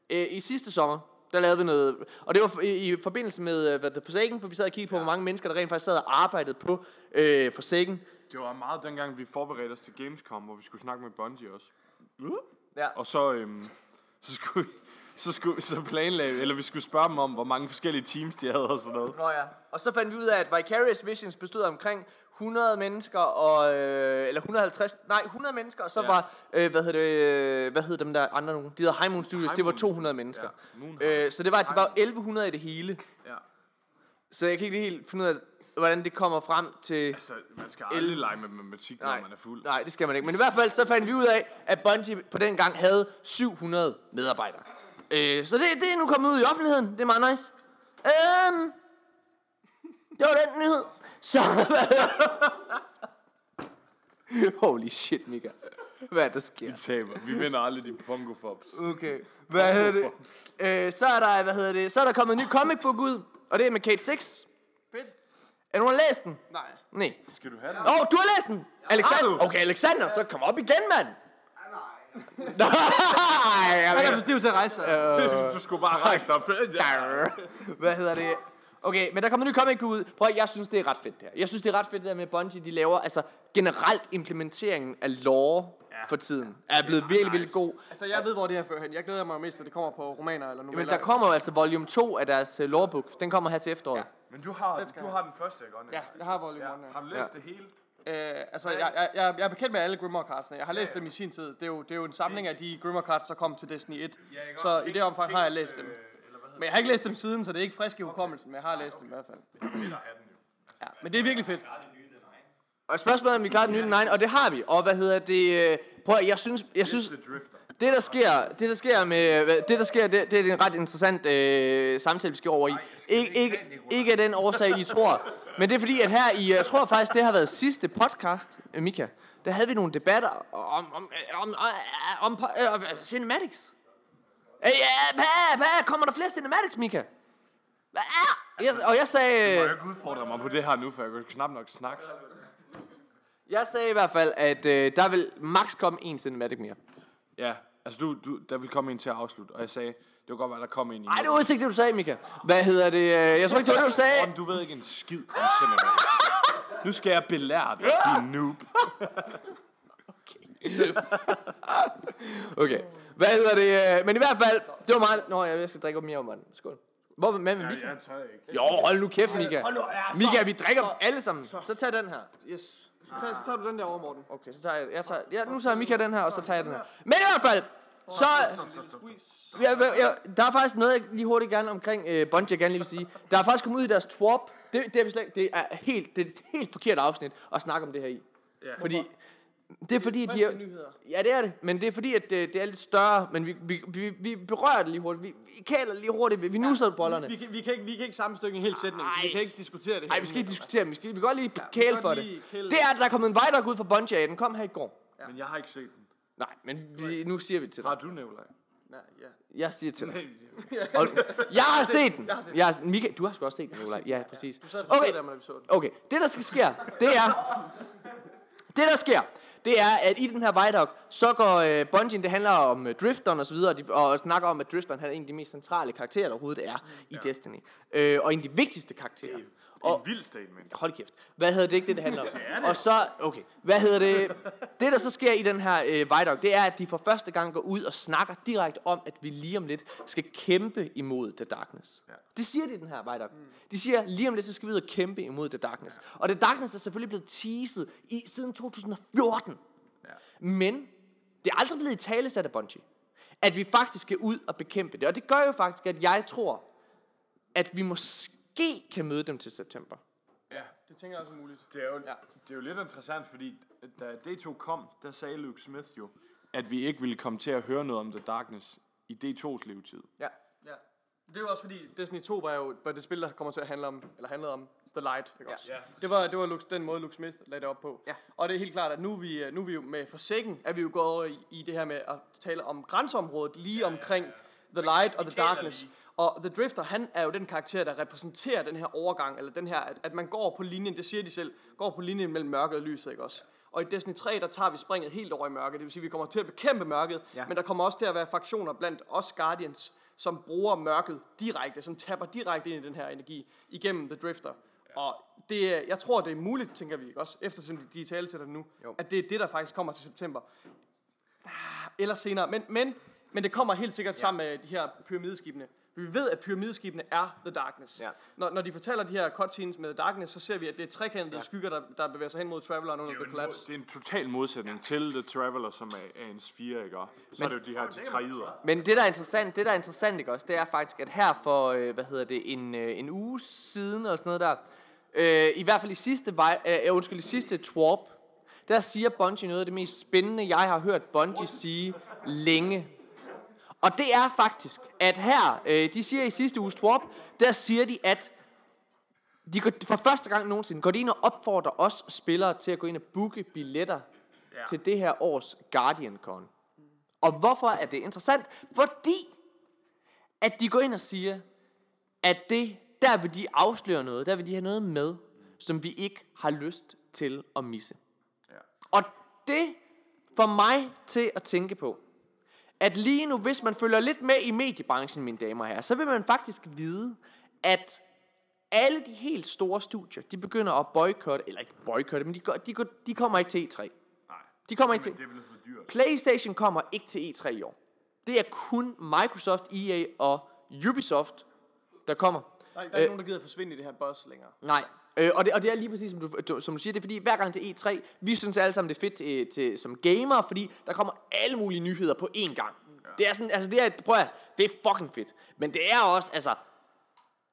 Speaker 1: Øh, I sidste sommer, der lavede vi noget... Og det var for- i, i forbindelse med øh, hvad det, Forsaken, for vi sad og kiggede på, hvor mange mennesker, der rent faktisk sad og arbejdede på øh, Forsaken.
Speaker 2: Det var meget dengang, vi forberedte os til Gamescom, hvor vi skulle snakke med Bungie også.
Speaker 1: Ja.
Speaker 2: Og så, øhm, så skulle vi, så, skulle, så planlagde, eller vi skulle spørge dem om, hvor mange forskellige teams de havde og sådan noget.
Speaker 1: Nå ja. Og så fandt vi ud af, at Vicarious Visions bestod af omkring 100 mennesker og øh, eller 150 nej 100 mennesker og så ja. var øh, hvad hedder det øh, hvad hedder dem der andre nogen de hedder High Moon Studios High det var
Speaker 2: Moon.
Speaker 1: 200 mennesker
Speaker 2: Ja. Moon
Speaker 1: ja. øh, så det var det var jo 1100 i det hele
Speaker 2: Ja.
Speaker 1: så jeg kan ikke lige helt finde ud af hvordan det kommer frem til
Speaker 2: Så man skal aldrig lege med matematik, når man er fuld.
Speaker 1: Nej, det skal man ikke. Men i hvert fald så fandt vi ud af, at Bungie på den gang havde 700 medarbejdere. Øh, så det, det er nu kommet ud i offentligheden. Det er meget nice. Øhm, det var den nyhed. Så... <laughs> Holy shit, Mika. Hvad er der sker?
Speaker 2: Taber. Vi vinder aldrig de pongo fobs.
Speaker 1: Okay. Hvad hedder det? Øh, så er der, hvad hedder det? Så er der kommet en ny comic book ud, og det er med Kate 6.
Speaker 3: Fedt.
Speaker 1: Er nogen der har læst den?
Speaker 3: Nej.
Speaker 1: Nej.
Speaker 2: Skal du have den?
Speaker 1: Åh, oh, du har læst den! Alexander.
Speaker 2: du?
Speaker 1: Okay, Alexander, så kom op igen, mand! <laughs> Nej, jeg
Speaker 6: Jeg er
Speaker 1: mener-
Speaker 6: for stiv til at rejse sig.
Speaker 2: du skulle bare rejse dig op. Ja.
Speaker 1: Hvad hedder det? Okay, men der kommer en ny comic ud. Prøv at, jeg synes, det er ret fedt der. Jeg synes, det er ret fedt der med at Bungie, de laver. Altså, generelt implementeringen af lore for tiden er blevet virkelig, virkelig god.
Speaker 3: Altså, jeg ved, hvor det her fører hen. Jeg glæder mig mest, at det kommer på romaner eller noveller.
Speaker 1: Men der kommer jo altså volume 2 af deres øh, lorebook. Den kommer her til efteråret.
Speaker 2: Men du har,
Speaker 3: skal
Speaker 2: du
Speaker 3: jeg.
Speaker 2: har den første, ikke? Ronny?
Speaker 3: Ja, jeg har volume
Speaker 2: Ja.
Speaker 3: 1. Ja.
Speaker 2: Har du læst det hele?
Speaker 3: Øh, altså, jeg, jeg, jeg, jeg er bekendt med alle Grimmer-kartsene. Jeg har læst dem i sin tid. Det er jo, det er jo en samling af de Grimmer-karts, der kom til Destiny 1.
Speaker 2: ikke
Speaker 3: Så
Speaker 2: også?
Speaker 3: i det omfang har jeg
Speaker 2: Kings,
Speaker 3: læst dem.
Speaker 2: øh, Eller hvad hedder
Speaker 3: Men jeg har ikke læst dem siden, så det er ikke frisk i hukommelsen, men jeg har læst dem i hvert fald.
Speaker 2: det, der er den jo?
Speaker 3: Ja, men det er virkelig fedt.
Speaker 1: Og spørgsmålet er, om vi klarer den nye nej, og det har vi. Og hvad hedder det? øh, Prøv at, jeg synes, jeg synes,
Speaker 2: The Drifter.
Speaker 1: Det der sker, det der sker med, hvad- det der sker, det, det er en ret interessant øh, samtale, vi skal over i. Ikke, ikke, ikke af den årsag, I tror. Men det er fordi, at her i, jeg tror faktisk, det har været sidste podcast, øh, Mika, der havde vi nogle debatter om, om, øh, om, øh, om, po- øh, øh, cinematics. Øh, Ja, hvad, hvad, kommer der flere cinematics, Mika? Hvad er? Jeg, og jeg sagde...
Speaker 2: Jeg kan ikke udfordre mig på det her nu, for jeg kan knap nok snakke.
Speaker 1: Jeg sagde i hvert fald, at øh, der vil max komme en cinematic mere.
Speaker 2: Ja, altså du, du, der ville komme en til at afslutte, og jeg sagde, det kunne godt være, der kom en i.
Speaker 1: Ej, det var vist ikke det, du sagde, Mika. Hvad hedder det? øh, Jeg tror ikke, det var det, du sagde.
Speaker 2: Ron, du ved ikke en skid om cinematik. Nu skal jeg belære dig, din noob.
Speaker 1: Okay. Hvad hedder det? øh, Men i hvert fald, det var meget... Nå, jeg skal drikke op mere om vand. Skål. Hvor med, med Mika?
Speaker 2: Jeg tør ikke.
Speaker 1: Jo, hold nu kæft, Mika. Mika, vi drikker dem alle sammen. Så tag den her.
Speaker 3: Yes. Så tager, så tager du den der over, Morten.
Speaker 1: Okay, så tager jeg... jeg tager, ja, nu tager Mika den her, og så tager jeg den her. Men i hvert fald, så... Jeg, jeg, jeg, der er faktisk noget, jeg lige hurtigt gerne omkring øh, Bungie, jeg gerne lige vil sige. Der er faktisk kommet ud i deres twop. Det, det, er, vi slet, ikke- det, er, helt, det er et helt forkert afsnit at snakke om det her i. Yeah. Fordi, det er fordi, at de er,
Speaker 3: nyheder.
Speaker 1: Ja, det er det. Men det er fordi, at øh, det, det er lidt større. Men vi, vi, vi, vi berører det lige hurtigt. Vi, vi kæler lige hurtigt. Vi, vi nusser bollerne.
Speaker 3: Vi kan, vi, kan ikke, vi kan ikke sammenstykke en hel sætning, så vi
Speaker 1: Ej.
Speaker 3: kan ikke diskutere det her.
Speaker 1: Nej, vi skal ikke diskutere dem. Vi, skal, vi kan godt lige kæle
Speaker 3: godt
Speaker 1: for
Speaker 3: lige
Speaker 1: det.
Speaker 3: kæle.
Speaker 1: Det er, at der er kommet en Vidoc ud fra Bungie. af. Den kom her i går.
Speaker 2: Men jeg har ikke set den.
Speaker 1: Nej, men vi, nu siger vi til dig.
Speaker 2: Har du, Nicolaj?
Speaker 3: Nej, ja.
Speaker 1: Jeg siger til dig. <laughs> Og, jeg har set den. Jeg har, Mika, du har sgu også set den, Nicolaj. Ja, præcis.
Speaker 3: Så er det
Speaker 1: Okay,
Speaker 3: okay. der, man episode.
Speaker 1: Okay, det der skal ske, det er... Det der sker, det er, at i den her Vidoc, så går øh, Bungie, det handler om øh, Drifteren og så videre, og, de, og snakker om, at Drifteren han er en af de mest centrale karakterer, der overhovedet er i Destiny. Øh, og en af de vigtigste karakterer. Og,
Speaker 2: En vild statement.
Speaker 1: hold kæft, hvad hedder det ikke, det <laughs> det handler om? Og så, okay, hvad hedder det? Det der så sker i den her øh, Vidoc, det er, at de for første gang går ud og snakker direkte om, at vi lige om lidt skal kæmpe imod The Darkness.
Speaker 2: Ja.
Speaker 1: Det siger de i den her Vidoc. De siger, lige om lidt, så skal vi ud og kæmpe imod The Darkness. Og The Darkness er selvfølgelig blevet teaset i, siden 2014. Men det er aldrig blevet i tale af Bungie, at vi faktisk skal ud og bekæmpe det. Og det gør jo faktisk, at jeg tror, at vi måske kan møde dem til september.
Speaker 2: Ja.
Speaker 3: Det tænker jeg også er muligt.
Speaker 2: Det er, jo, ja. det er jo lidt interessant, fordi øh, da D2 kom, der sagde Luke Smith jo, at vi ikke ville komme til at høre noget om The Darkness i D2's levetid.
Speaker 1: Ja.
Speaker 3: Ja. Det er jo også fordi, Destiny 2 var jo var det spil, der kommer til at handle om, eller handlede om The Light. Ikke også?
Speaker 2: Ja,
Speaker 3: det var, det var Luke, den måde, Luke Smith lagde det op på.
Speaker 1: Ja.
Speaker 3: Og det er helt klart, at nu er vi, nu er vi jo med Forsaken, er vi jo gået over i, i det her med at tale om grænseområdet lige omkring The Light og The Darkness. Og The Drifter, han er jo den karakter, der repræsenterer den her overgang, eller den her, at, at man går på linjen, det siger de selv, går på linjen mellem mørket og lyset, ikke også? Og i Destiny 3, der tager vi springet helt over i mørket. Det vil sige, at vi kommer til at bekæmpe mørket, ja. men der kommer også til at være fraktioner blandt os Guardians, som bruger mørket direkte, som tapper direkte ind i den her energi igennem The Drifter. Ja. Og det, er- jeg tror, det er muligt, tænker vi ikke også, eftersom de digitale sætter nu, jo. at det er det, der faktisk kommer til september. Ah, Eller senere, men, men, men det kommer helt sikkert ja. sammen med de her pyramideskibene. Vi ved, at pyramideskibene er The Darkness.
Speaker 7: Ja.
Speaker 3: Når, når de fortæller de her cutscenes med The Darkness, så ser vi, at det er trekantede ja. skygger, der, der bevæger sig hen mod Traveleren under
Speaker 2: Det er, jo
Speaker 3: The
Speaker 2: en, mod-
Speaker 3: Collapse.
Speaker 2: det er en total modsætning til The Traveler, som er, er en sphere, ikke? Og Så er det jo de her tetraider.
Speaker 1: Men det, der er interessant, det, der er interessant ikke også, det er faktisk, at her for, øh, hvad hedder det, en, øh, en uge siden, og sådan noget der, øh, i hvert fald i sidste, vej, øh, undskyld, i sidste Twarp, der siger Bungie noget af det mest spændende, jeg har hørt Bungie sige længe. Og det er faktisk, at her, øh, de siger i sidste uges Twarp, der siger de, at de går, for første gang nogensinde går de ind og opfordrer os spillere til at gå ind og booke billetter ja. til det her års GuardianCon. Og hvorfor er det interessant? Fordi at de går ind og siger, at det, der vil de afsløre noget, der vil de have noget med, som vi ikke har lyst til at misse. Ja. Og det får mig til at tænke på, at lige nu, hvis man følger lidt med i mediebranchen, mine damer og herrer, så vil man faktisk vide, at alle de helt store studier, de begynder at boykotte, eller ikke boykotte, men de, går, de, går, de kommer ikke til E3. Nej. De kommer ikke til.
Speaker 2: Det er blevet for dyrt.
Speaker 1: PlayStation kommer ikke til E3 i år. Det er kun Microsoft, EA og Ubisoft, der kommer.
Speaker 3: Der, er- der er ikke nogen, der gider forsvinde i det her buzz længere.
Speaker 1: Nej. Øh, og, det, og det er lige præcis, som du, du, som du siger, det er fordi, hver gang til E3, vi synes alle sammen, det er fedt til, til, som gamer, fordi der kommer alle mulige nyheder på én gang. Ja. Det er sådan, altså det er, prøv at, høre, det er fucking fedt. Men det er også, altså,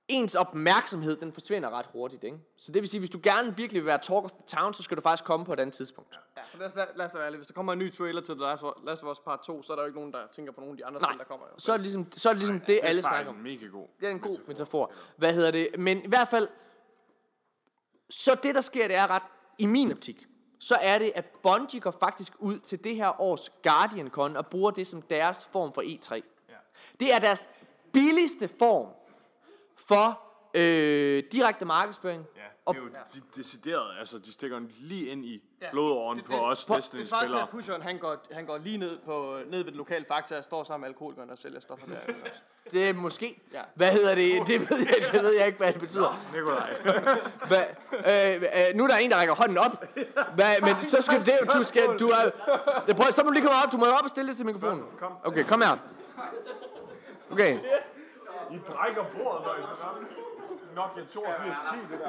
Speaker 1: ens opmærksomhed, den forsvinder ret hurtigt, ikke? Så det vil sige, hvis du gerne virkelig vil være talk of the town, så skal du faktisk komme på et andet tidspunkt.
Speaker 3: Ja, så lad os, lad, lad os da være ærlige. Hvis der kommer en ny trailer til The Last of- Last of Us Part 2, så er der jo ikke nogen, der tænker på nogen af de andre spil, der kommer. Jo.
Speaker 1: Så er det ligesom, så er det, ligesom det alle
Speaker 2: Det er
Speaker 1: snakker
Speaker 2: faktisk
Speaker 1: om.
Speaker 2: en mega god.
Speaker 1: Det er en god metafor. Hvad hedder det? Men i hvert fald, så det der sker, det er ret, i min optik, så er det, at Bungie går faktisk ud til det her års Guardian Con og bruger det som deres form for E3. Det er deres billigste form for øh, direkte markedsføring.
Speaker 2: Ja,
Speaker 1: og
Speaker 2: det er jo de decideret, altså de stikker den lige ind i blodåren på os
Speaker 3: Hvis faktisk
Speaker 2: Destiny-spillere.
Speaker 3: at pusheren, han går, han går lige ned, på, ned ved den lokale fakta og står sammen med alkoholikeren og sælger stoffer der.
Speaker 1: Det er måske.
Speaker 3: Ja.
Speaker 1: Hvad hedder det? Det ved, jeg, det ved jeg ikke, hvad det betyder. <laughs>
Speaker 2: Nikolaj.
Speaker 1: Hvad, øh, øh, nu er der en, der rækker hånden op. Hvad, men så skal det, du skal, du er, prøv, at- så må du lige komme op, du må op og stille dig til mikrofonen. Okay, kom her. Okay,
Speaker 2: I brækker bordet, når I Nokia 8210, det der.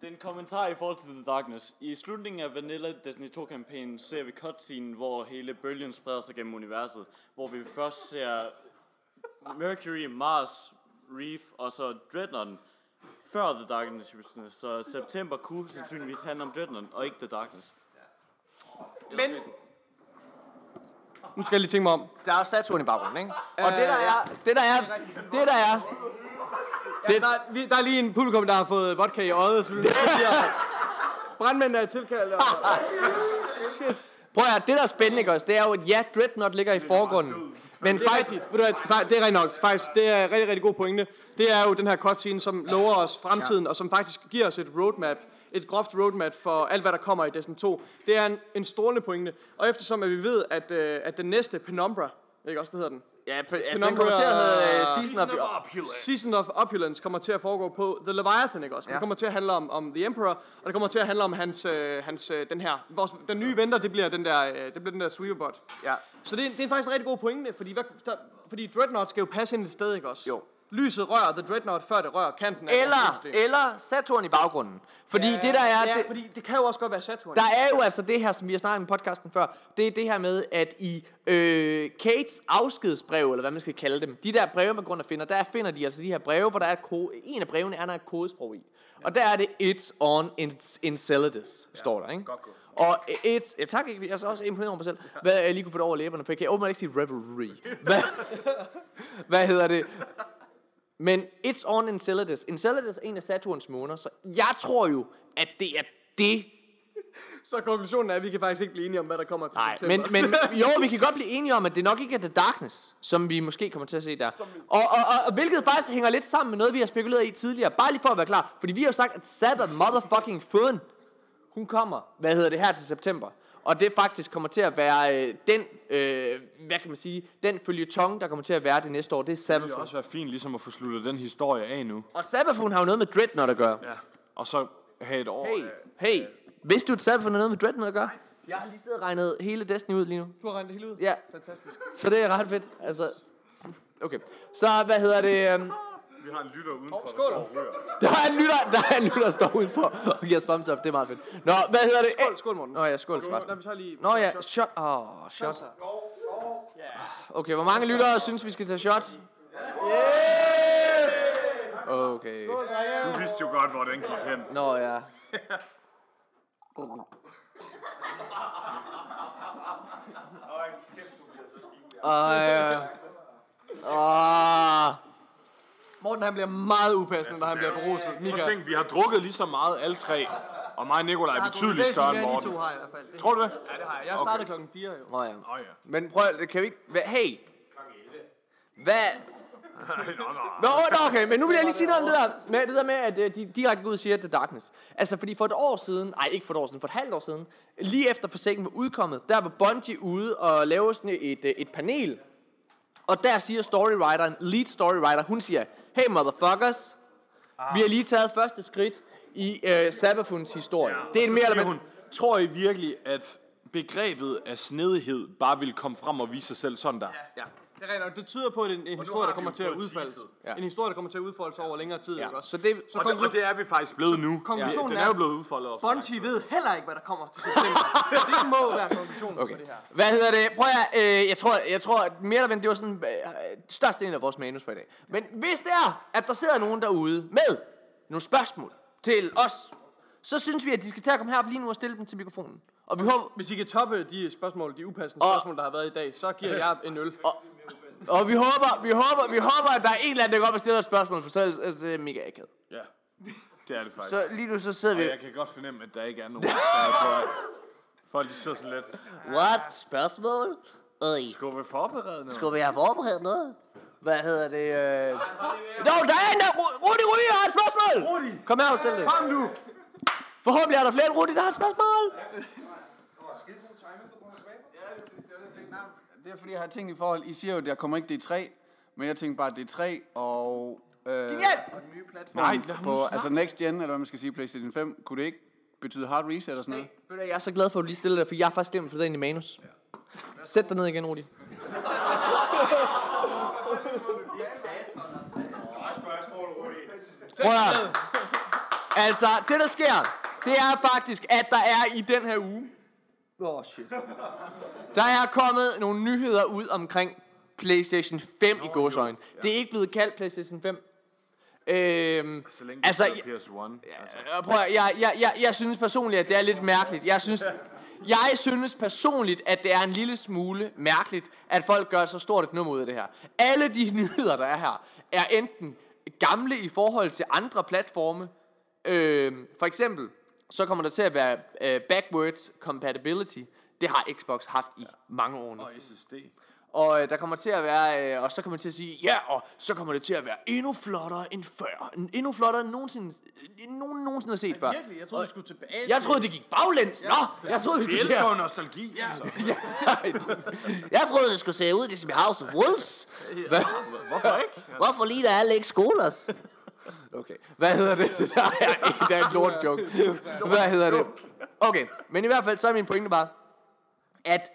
Speaker 8: Det er en kommentar i forhold til The Darkness. I slutningen af Vanilla Destiny 2-kampagnen ser vi cutscene, hvor hele bølgen spreder sig gennem universet. Hvor vi først ser Mercury, Mars, Reef og så Dreadnought før The Darkness. Så september kunne sandsynligvis handle om Dreadnought og ikke The Darkness.
Speaker 3: Men... Nu skal jeg lige tænke mig om.
Speaker 1: der er statuen i baggrunden, ikke? Og det der er, det der er, det der er,
Speaker 3: Det, <laughs> der, er- vi, der er lige en publikum, der har fået vodka i øjet. Så
Speaker 2: <laughs>
Speaker 3: vi siger, brandmændene er tilkaldt. Og...
Speaker 1: prøv at høre, det der er spændende, ikke også? Det er jo, at ja, Dreadnought ligger i forgrunden. Men
Speaker 3: Det er
Speaker 1: faktisk,
Speaker 3: rigtigt. Ved du hvad, fa- det er rigtig nok. Faktisk, det er en rigtig, rigtig god pointe. Det er jo den her cutscene, som lover os fremtiden, og som faktisk giver os et roadmap, et groft roadmap for alt, hvad der kommer i Destiny 2. Det er en, en strålende pointe. Og eftersom at vi ved, at, øh, at den næste Penumbra, ikke også, det hedder den?
Speaker 1: ja, altså, den
Speaker 3: Penumbra-
Speaker 1: kommer til at hedde øh, Season of...
Speaker 3: Season of Opulence kommer til at foregå på The Leviathan, ikke også? Ja. Det kommer til at handle om, om The Emperor, og det kommer til at handle om hans, øh, hans øh, den her... Vores, den nye venter, det bliver den der, øh, det bliver den der sweeperbot.
Speaker 1: Ja.
Speaker 3: Så det, er- det er faktisk en rigtig god pointe, fordi, hvad, der, fordi Dreadnought skal jo passe ind et sted, ikke også?
Speaker 1: Jo.
Speaker 3: Lyset rører The Dreadnought, før det rører kanten af vores
Speaker 1: Eller,
Speaker 3: solsystem.
Speaker 1: eller Saturn i baggrunden. Fordi ja, det der er...
Speaker 3: Ja,
Speaker 1: det,
Speaker 3: fordi det kan jo også godt være Saturn.
Speaker 1: Der er jo altså det her, som vi har snakket om i podcasten før, det er det her med, at i øh, Kates afskedsbrev, eller hvad man skal kalde dem, de der breve, man går ind og finder, der finder de altså de her breve, hvor der er et kode, en af brevene er, der er et kodesprog i. Og der er det, it's on in- Enceladus, står der, ikke? Og et, ja, tak, ikke? jeg er så også imponeret over mig selv, hvad jeg lige kunne få det over læberne, for jeg kan åbenbart ikke sige revelry. Hvad, <laughs> hvad hedder det? Men it's on Enceladus. Enceladus er en af Saturns måneder, så jeg tror jo, at det er det,
Speaker 3: Så konklusionen er, at vi kan faktisk ikke blive enige om, hvad der kommer til
Speaker 1: Nej,
Speaker 3: september.
Speaker 1: men, men jo, vi kan godt blive enige om, at det nok ikke er The Darkness, som vi måske kommer til at se der. Og, og, og, og hvilket faktisk hænger lidt sammen med noget, vi har spekuleret i tidligere. Bare lige for at være klar. Fordi vi har jo sagt, at Sabbath motherfucking Foden, hun kommer, hvad hedder det her til september. Og det faktisk kommer til at være øh, den, øh, hvad kan man sige, den følgetong, der kommer til at være det næste år. Det er
Speaker 2: Det vil
Speaker 1: Sabbath.
Speaker 2: også være fint ligesom at få sluttet den historie af nu.
Speaker 1: Og Sabbath har jo noget med Dreadnought at gøre.
Speaker 2: Ja. Og så have et år.
Speaker 1: Hey,
Speaker 2: af-
Speaker 1: hey. Vidste du, at Sabbath har noget med Dreadnought at gøre? Jeg har lige siddet og regnet hele Destiny ud lige nu.
Speaker 3: Du har regnet det hele ud?
Speaker 1: Ja,
Speaker 3: Fantastisk.
Speaker 1: så det er ret fedt. Altså, Okay. Så, hvad hedder det? øhm,
Speaker 2: Vi har en lytter udenfor, oh, der står og ryger.
Speaker 1: Der er en lytter, der er en lytter, der står udenfor og giver os thumbs up. Det er meget fedt. Nå, hvad hedder det?
Speaker 3: Skål, skål, Morten.
Speaker 1: Nå ja, skål
Speaker 3: Lad
Speaker 1: forresten.
Speaker 3: os tage lige...
Speaker 1: Nå ja, shot. Åh, oh, shot. Okay, hvor mange lyttere synes, vi skal tage shot? Yes! Okay.
Speaker 2: Du vidste jo godt, hvor den gik hen.
Speaker 1: Nå ja. Og, øh, Ah. åh,
Speaker 3: Morten, han bliver meget upassende, når han bliver beruset.
Speaker 2: Prøv
Speaker 3: Mika.
Speaker 2: at tænke, vi har drukket lige så meget alle tre. Og mig og Nikolaj er betydeligt større end Morten.
Speaker 3: Jeg har i hvert fald.
Speaker 2: Tror du det?
Speaker 3: Ja, det har jeg. Jeg startede klokken 4 jo.
Speaker 1: Nå ja.
Speaker 2: Nå ja.
Speaker 1: Men prøv, kan vi ikke... Hvad, hey! Hvad?
Speaker 2: Nå, nå.
Speaker 1: Nå, nå, okay, men nu vil jeg lige sige noget om det der med, det der med at øh, de direkte går ud og siger, at det er darkness. Altså, fordi for et år siden, nej, ikke for et år siden, for et halvt år siden, lige efter Forsaken var udkommet, der var Bungie ude og lave sådan et, øh, et panel. Og der siger storywriteren, lead storywriter, hun siger, hey motherfuckers, vi har lige taget første skridt i øh, Sabafuns historie. Ja, det er en mere eller
Speaker 2: hun,
Speaker 1: mindre...
Speaker 2: tror I virkelig, at begrebet af snedighed bare vil komme frem og vise sig selv sådan der?
Speaker 3: Ja. Det er rent, og det tyder på, at det er en, en historie, der kommer til at udfolde sig.
Speaker 1: Ja.
Speaker 3: En historie, der kommer til at udfolde sig over længere tid.
Speaker 1: Ja.
Speaker 3: ikke også?
Speaker 1: Så det-
Speaker 3: så
Speaker 2: Og, det, og det er vi faktisk blevet nu.
Speaker 3: konklusionen
Speaker 2: den er jo
Speaker 3: er-
Speaker 2: blevet udfoldet også.
Speaker 3: Bungie ved heller ikke, hvad der kommer
Speaker 1: <laughs>
Speaker 3: til september. det må være konklusionen okay.
Speaker 1: Okay.
Speaker 3: på det her.
Speaker 1: Hvad hedder det? Prøv at, øh, jeg tror, jeg tror at mere eller mindre, det var sådan øh, størstedelen af vores manus for i dag. Men hvis det er, at der sidder nogen derude med nogle spørgsmål til os, så synes vi, at de skal tage at komme herop lige nu og stille dem til mikrofonen. Og vi håber,
Speaker 3: Hvis I kan toppe de spørgsmål, de upassende
Speaker 1: Og-
Speaker 3: spørgsmål, der har været i dag, så giver jeg en øl.
Speaker 1: og vi håber, vi håber, vi håber, at der er en eller anden, der går op og stiller et spørgsmål, for så ellers, ellers er det mega akavet.
Speaker 2: Ja, det er det faktisk.
Speaker 1: Så lige nu så sidder vi,
Speaker 2: Og jeg kan godt fornemme, at der ikke er nogen. der er på vej. Folk de sidder sådan lidt.
Speaker 1: what? Spørgsmål? Øj.
Speaker 2: Gå ved forberedende.
Speaker 1: Skulle vi have forberedt noget? Hvad hedder det? Øh... Nå, der er en der! Ru- Rudi Rudi har et spørgsmål! Rudi! Kom her og stil det. Kom nu! Forhåbentlig er der flere end Rudi, der har et spørgsmål.
Speaker 4: Det er fordi, jeg har tænkt i forhold. I siger jo, der kommer ikke D3, men jeg tænkte bare D3 og... Øh,
Speaker 1: Genialt!
Speaker 2: Nej, lad ham nu
Speaker 4: på,
Speaker 2: snakke.
Speaker 4: altså Next Gen, eller hvad man skal sige, PlayStation 5, kunne det ikke betyde hard reset eller sådan noget?
Speaker 1: Ved du hvad, Jeg er så glad for, at du lige stiller dig, for jeg har faktisk glemt at få det ind i manus. Sæt dig ned igen, Rudi. Prøv at høre. Altså, det der sker, det er faktisk, at der er i den her uge... Åh, oh, shit. Der er kommet nogle nyheder ud omkring PlayStation 5 i gåsøjne. Det er ikke blevet kaldt PlayStation 5. Øhm,
Speaker 2: Så længe
Speaker 1: altså,
Speaker 2: altså,
Speaker 1: jeg-
Speaker 2: PS1. Ja. Altså,
Speaker 1: Øh, Prøv at, høre, jeg, jeg, jeg, jeg synes personligt, at det er lidt mærkeligt. Jeg synes, jeg synes personligt, at det er en lille smule mærkeligt, at folk gør så stort et nummer ud af det her. Alle de <laughs> nyheder, der er her, er enten gamle i forhold til andre platforme. Øh, for eksempel, så kommer der til at være øh, backwards compatibility. Det har Xbox haft i mange år nu.
Speaker 2: og SSD.
Speaker 1: Og øh, der kommer til at være, øh, og så kommer man til at sige, ja, og så kommer det til at være endnu flottere end før. N- Endnu flottere end nogensinde, øh, nogen, nogensinde har set før.
Speaker 3: Virkelig, jeg troede, vi skulle tilbage.
Speaker 1: Jeg troede, det gik baglæns. Nå, jeg troede, vi
Speaker 2: Vi
Speaker 1: skulle
Speaker 2: elsker jo
Speaker 1: til
Speaker 2: nostalgi, altså.
Speaker 1: at- <laughs> Jeg troede, det skulle se ud ligesom i House of Wolves. Hvad?
Speaker 2: Hvorfor ikke?
Speaker 1: Hvorfor ligner alle ikke skolers? Okay, hvad hedder det? Det <laughs> der er, det er en lort joke. Hvad hedder det? Okay, men i hvert fald, så er min pointe bare, at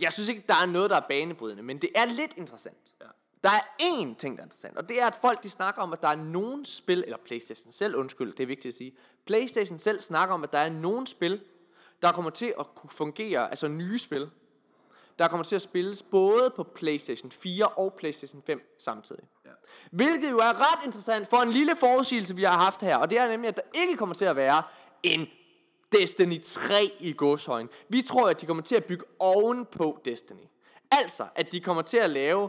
Speaker 1: jeg synes ikke, der er noget, der er banebrydende, men det er lidt interessant. Der er én ting, der er interessant, og det er, at folk de snakker om, at der er nogen spil, eller Playstation selv, undskyld, det er vigtigt at sige, Playstation selv snakker om, at der er nogen spil, der kommer til at kunne fungere, altså nye spil, der kommer til at spilles både på PlayStation 4 og PlayStation 5 samtidig. Ja. Hvilket jo er ret interessant for en lille forudsigelse, vi har haft her, og det er nemlig, at der ikke kommer til at være en Destiny 3 i godshøjen. Vi tror, at de kommer til at bygge ovenpå Destiny. Altså, at de kommer til at lave,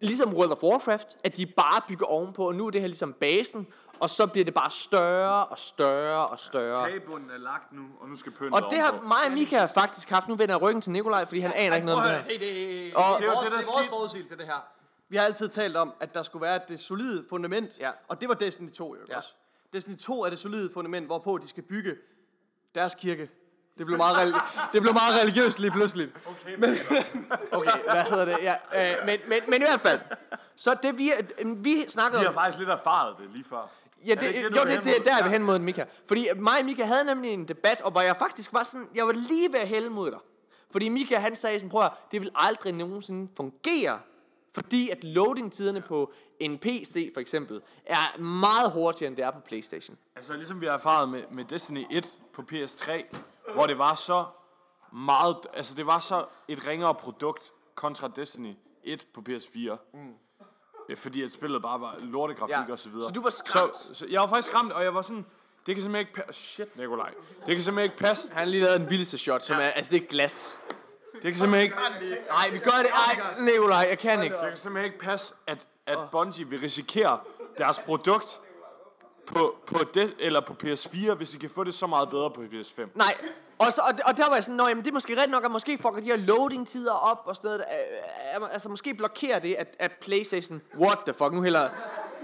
Speaker 1: ligesom World of Warcraft, at de bare bygger ovenpå, og nu er det her ligesom basen, og så bliver det bare større og større og større.
Speaker 2: Kagebunden er lagt nu, og nu skal pyntet
Speaker 1: Og det har mig og Mika faktisk haft. Nu vender jeg ryggen til Nikolaj, fordi han aner ikke noget om det her.
Speaker 3: Hey, det,
Speaker 1: Og-
Speaker 3: det, er vores,
Speaker 2: det, der
Speaker 3: det, er vores
Speaker 2: skete.
Speaker 3: forudsigelse, det her. Vi har altid talt om, at der skulle være det solide fundament,
Speaker 1: Ja.
Speaker 3: og det var Destiny 2 jo ikke
Speaker 1: Ja.
Speaker 3: også. Destiny 2 er det solide fundament, hvorpå de skal bygge deres kirke.
Speaker 1: <laughs>
Speaker 3: Det blev meget, reli- det blev meget religiøst lige pludselig.
Speaker 1: Okay, hvad hedder det? Ja, øh, men, men, men i hvert fald. Så det vi, øh, vi snakkede
Speaker 2: Vi
Speaker 1: om...
Speaker 2: har faktisk lidt erfaret det lige før.
Speaker 1: Ja, det,
Speaker 2: ikke
Speaker 1: jo,
Speaker 2: du
Speaker 1: det,
Speaker 2: er hen
Speaker 1: det, er
Speaker 2: mod?
Speaker 1: der er vi hen mod Mika. Fordi mig og Mika havde nemlig en debat, og hvor jeg faktisk var sådan... Jeg var lige ved at hælde mod dig. Fordi Mika, han sagde sådan, prøv at, høre, det vil aldrig nogensinde fungere Fordi at loading-tiderne på en PC for eksempel, er meget hurtigere, end det er på Playstation.
Speaker 2: Altså ligesom vi har erfaret med, med Destiny 1 på PS3, hvor det var så meget, altså det var så et ringere produkt kontra Destiny 1 på PS4. Mm. Fordi at spillet bare var lortegrafik
Speaker 1: Ja.
Speaker 2: og så videre.
Speaker 1: Så du var skræmt?
Speaker 2: Så, så jeg var faktisk skræmt, og jeg var sådan, det kan simpelthen ikke passe. Shit, Nikolaj. Det kan simpelthen ikke passe.
Speaker 1: Han har lige lavet den vildeste shot, som ja. er, altså det er glas.
Speaker 2: Det kan simpelthen ikke,
Speaker 1: Nej, vi gør det. Ej, Nikolaj, jeg kan ikke.
Speaker 2: det kan simpelthen ikke passe, at, at Bungie vil risikere deres produkt på, på, det, eller på PS4, hvis de kan få det så meget bedre på PS5.
Speaker 1: Nej. Og, så, og, og der var jeg sådan, Nå, jamen, det er måske rigtigt nok, at måske fucker de her loading-tider op og sådan noget. Øh, øh, Altså, måske blokerer det, at, at Playstation, what the fuck, nu hælder...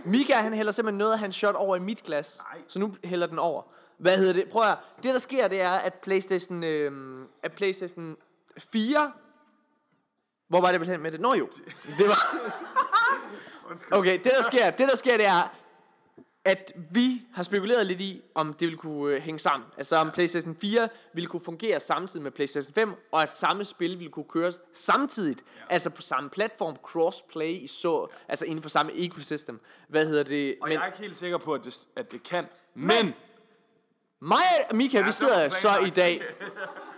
Speaker 1: Mika, han hælder simpelthen noget af hans shot over i mit glas. Så nu hælder den over. Hvad hedder det? Prøv at høre. Det, der sker, det er, at Playstation, øh, at Playstation 4... Hvor var det, jeg ville hen med det? Nå jo. Det var...
Speaker 2: <laughs>
Speaker 1: Okay, det der sker, det der sker, det er, at vi har spekuleret lidt i, om det ville kunne øh, hænge sammen. Altså om PlayStation 4 ville kunne fungere samtidig med PlayStation 5, og at samme spil ville kunne køres samtidigt. Ja. Altså på samme platform, crossplay i så, ja. altså inden for samme ecosystem. Hvad hedder det?
Speaker 2: Og
Speaker 1: Men
Speaker 2: jeg er ikke helt sikker på, at det, at det kan. Men,
Speaker 1: mig og Mika, vi
Speaker 2: det var
Speaker 1: sidder så i
Speaker 2: planlagt.
Speaker 1: dag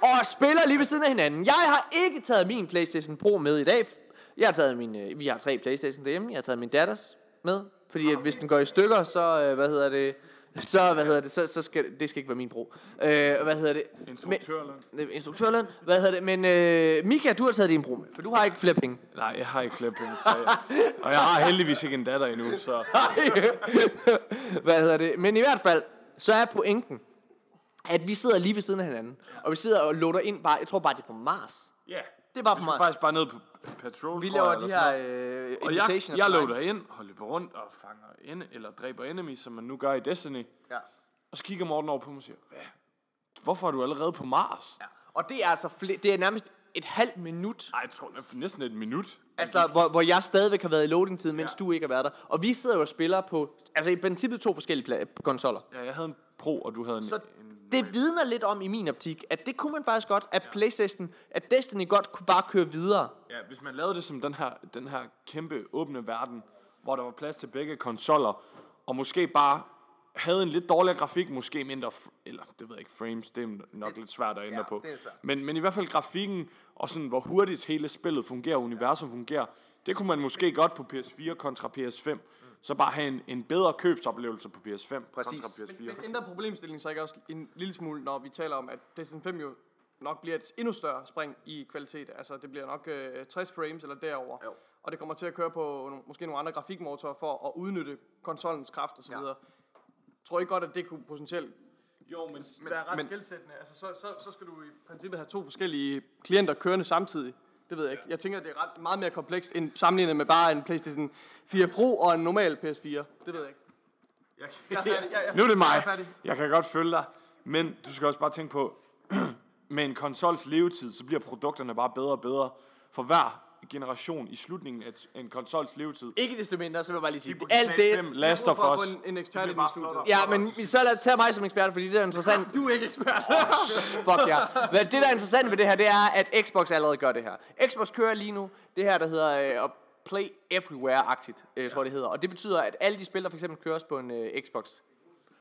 Speaker 2: <laughs>
Speaker 1: og spiller lige ved siden af hinanden. Jeg har ikke taget min PlayStation Pro med i dag. Jeg har taget min, øh, vi har tre PlayStation derhjemme. Jeg har taget min datters med, fordi at hvis den går i stykker, så øh, hvad hedder det? <laughs> Så hvad hedder det? Så, så skal det skal ikke være min Pro. Øh, hvad hedder det?
Speaker 2: Instruktørløn.
Speaker 1: Men, øh, instruktørløn. Hvad hedder det? Men øh, Mika, du har taget din Pro med, for du har ikke flere penge.
Speaker 2: nej, jeg har ikke flere penge. så
Speaker 1: <laughs>
Speaker 2: jeg- Og jeg har heldigvis ikke en datter endnu, så...
Speaker 1: Hvad hedder det? Men i hvert fald, så er pointen, at vi sidder lige ved siden af hinanden, og vi sidder og loader ind bare, jeg tror bare, det er på Mars.
Speaker 2: Ja,
Speaker 1: Det er bare for
Speaker 2: vi skal
Speaker 1: meget.
Speaker 2: faktisk bare ned på patrol,
Speaker 1: Vi
Speaker 2: tror
Speaker 1: laver
Speaker 2: jeg,
Speaker 1: de
Speaker 2: eller sådan
Speaker 1: her
Speaker 2: noget.
Speaker 1: øh,
Speaker 2: Og jeg, jeg
Speaker 1: online.
Speaker 2: loader ind, holder på rundt og fanger ind, eller dræber enemies, som man nu gør i Destiny.
Speaker 1: Ja.
Speaker 2: Og så kigger Morten over på mig og siger, hvad? Hvorfor er du allerede på Mars? Nej,
Speaker 1: Og det er altså fle- det er nærmest et halvt minut,
Speaker 2: jeg tror, det er næsten et minut.
Speaker 1: altså, hvor, hvor jeg stadigvæk har været i loading-tid, mens ja. du ikke har været der. Og vi sidder jo og spiller på, altså i princippet to forskellige pla- konsoller.
Speaker 2: Ja, jeg havde en Pro, og du havde en...
Speaker 1: Så
Speaker 2: en
Speaker 1: det vidner lidt om i min optik, at det kunne man faktisk godt, at Playstation, at Destiny godt kunne bare køre videre.
Speaker 2: Ja, hvis man lavede det som den her, den her kæmpe åbne verden, hvor der var plads til begge konsoller, og måske bare havde en lidt dårligere grafik, måske mindre, f- eller det ved jeg ikke, frames, det er nok lidt svært at ændre på.
Speaker 1: det er svært.
Speaker 2: Men, men i hvert fald grafikken, og sådan hvor hurtigt hele spillet fungerer, universet fungerer, det kunne man måske godt på PS4 kontra PS5. Så bare have en, en bedre købsoplevelse på PS5 Præcis. kontra PS4.
Speaker 3: Men ændrer problemstillingen så ikke også en lille smule, når vi taler om, at PlayStation 5 jo nok bliver et endnu større spring i kvalitet. Altså, det bliver nok øh, 60 frames eller derover. Jo. Og det kommer til at køre på nogle, måske nogle andre grafikmotorer for at udnytte konsollens kraft osv. Ja. Tror I godt, at det kunne potentielt
Speaker 2: Jo, men, men,
Speaker 3: være ret
Speaker 2: men,
Speaker 3: skældsættende? Altså, så, så, så skal du i princippet have to forskellige klienter kørende samtidig. Det ved jeg ikke. Jeg tænker, at det er ret, meget mere komplekst end sammenlignet med bare en PlayStation 4 Pro og en normal PS4. Det ved jeg ikke.
Speaker 2: Jeg kan,
Speaker 3: er færdig. Jeg- jeg-
Speaker 2: nu er det
Speaker 3: jeg er
Speaker 2: mig.
Speaker 3: færdig.
Speaker 2: Jeg kan godt følge dig. Men du skal også bare tænke på, <clears throat> med en konsols levetid, så bliver produkterne bare bedre og bedre for hver generation i slutningen af t- en konsols levetid.
Speaker 1: Ikke desto mindre, så vil jeg bare lige sige, alt det...
Speaker 2: PS5, Last
Speaker 3: Jeg
Speaker 2: of
Speaker 3: har brug for at
Speaker 2: Us.
Speaker 3: få en- en
Speaker 2: det
Speaker 3: ekspert ind i
Speaker 2: bliver bare
Speaker 3: studiet.
Speaker 2: flottere.
Speaker 1: Ja, men så lad tage mig som ekspert, fordi det der er interessant.
Speaker 3: <laughs> Du er ikke ekspert.
Speaker 1: <laughs> Fuck ja. Hvad det, der er interessant ved det her, det er, at Xbox allerede gør det her. Xbox kører lige nu det her, der hedder øh, Play Everywhere-agtigt, øh, tror jeg, det hedder. Og det betyder, at alle de spil, der for eksempel køres på en øh, Xbox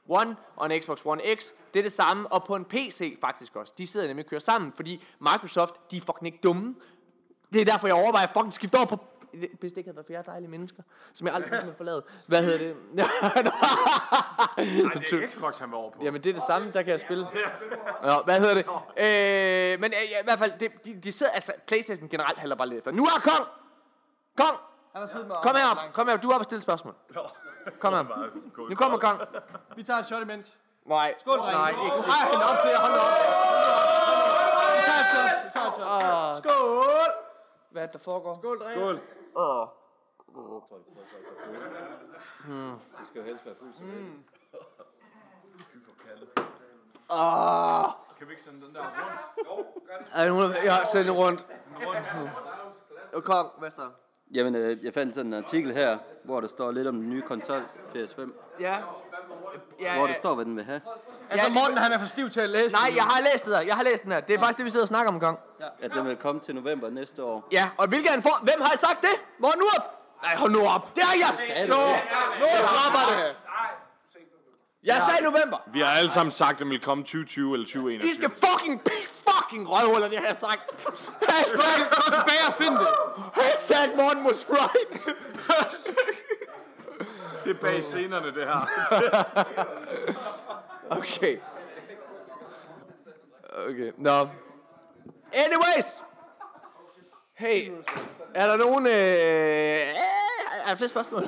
Speaker 1: One og en Xbox One X, det er det samme. Og på en PC faktisk også. De sidder nemlig og kører sammen, fordi Microsoft, de er fucking ikke dumme. Det er derfor, jeg overvejer at fucking skifte over på... Hvis det ikke havde været for jer dejlige mennesker, som jeg aldrig kunne forlade. Hvad hedder det?
Speaker 2: Ej, det er Xbox, han var over på.
Speaker 1: Jamen det er det samme, der kan jeg spille. Nå, hvad hedder det? Øh, men øh, ja, i hvert fald, det, de, de sidder, altså Playstation generelt halder bare lidt efter. Nu er Kong! Kong!
Speaker 3: Han har siddet med
Speaker 1: Kom herop, kom herop, du er oppe og stille spørgsmål. Kom herop. Nu kommer Kong.
Speaker 3: Vi tager et shot imens.
Speaker 1: Nej.
Speaker 3: Skål, drenge.
Speaker 1: Nej, ikke.
Speaker 3: Nu har jeg hende op til at holde op. Vi tager et shot. Vi tager et shot. Skål.
Speaker 1: Ah. Hvad er det, der foregår?
Speaker 3: Skål, drenge. Skål.
Speaker 1: Ah.
Speaker 3: Mm.
Speaker 2: Kan vi ikke sende den der rundt?
Speaker 1: Ah. Er det nogen, der- jeg har sendt den rundt. Og Kong, hvad så?
Speaker 5: Jamen, øh, jeg fandt sådan en artikel her, hvor der står lidt om den nye konsol, PS5.
Speaker 1: Ja.
Speaker 5: Hvor
Speaker 1: Ja,
Speaker 5: der står, hvad den vil have.
Speaker 3: Altså, Morten, han er for stiv til at læse
Speaker 1: Nej,
Speaker 3: den.
Speaker 1: jeg har læst det der. Jeg har læst den her. Det er faktisk det, vi sidder og snakker om en gang.
Speaker 5: At den vil komme til november næste år.
Speaker 1: Ja, og hvilke han får... Hvem har sagt det? Morten Urup? Nej, hold nu op. Det har jeg. Nå, nu slapper det. Jeg sagde november.
Speaker 2: Vi har alle sammen sagt, at den vil komme 2020 eller
Speaker 1: I
Speaker 2: 2021.
Speaker 1: skal fucking fucking røvhuller, det har jeg sagt. Hashtag,
Speaker 3: Gå tilbage og find det.
Speaker 1: hashtag Morten was right.
Speaker 2: Det er bag scenerne, det her.
Speaker 1: Okay. Okay, nå. Anyways. Hey, er der nogen... Øh, øh, er der flere spørgsmål?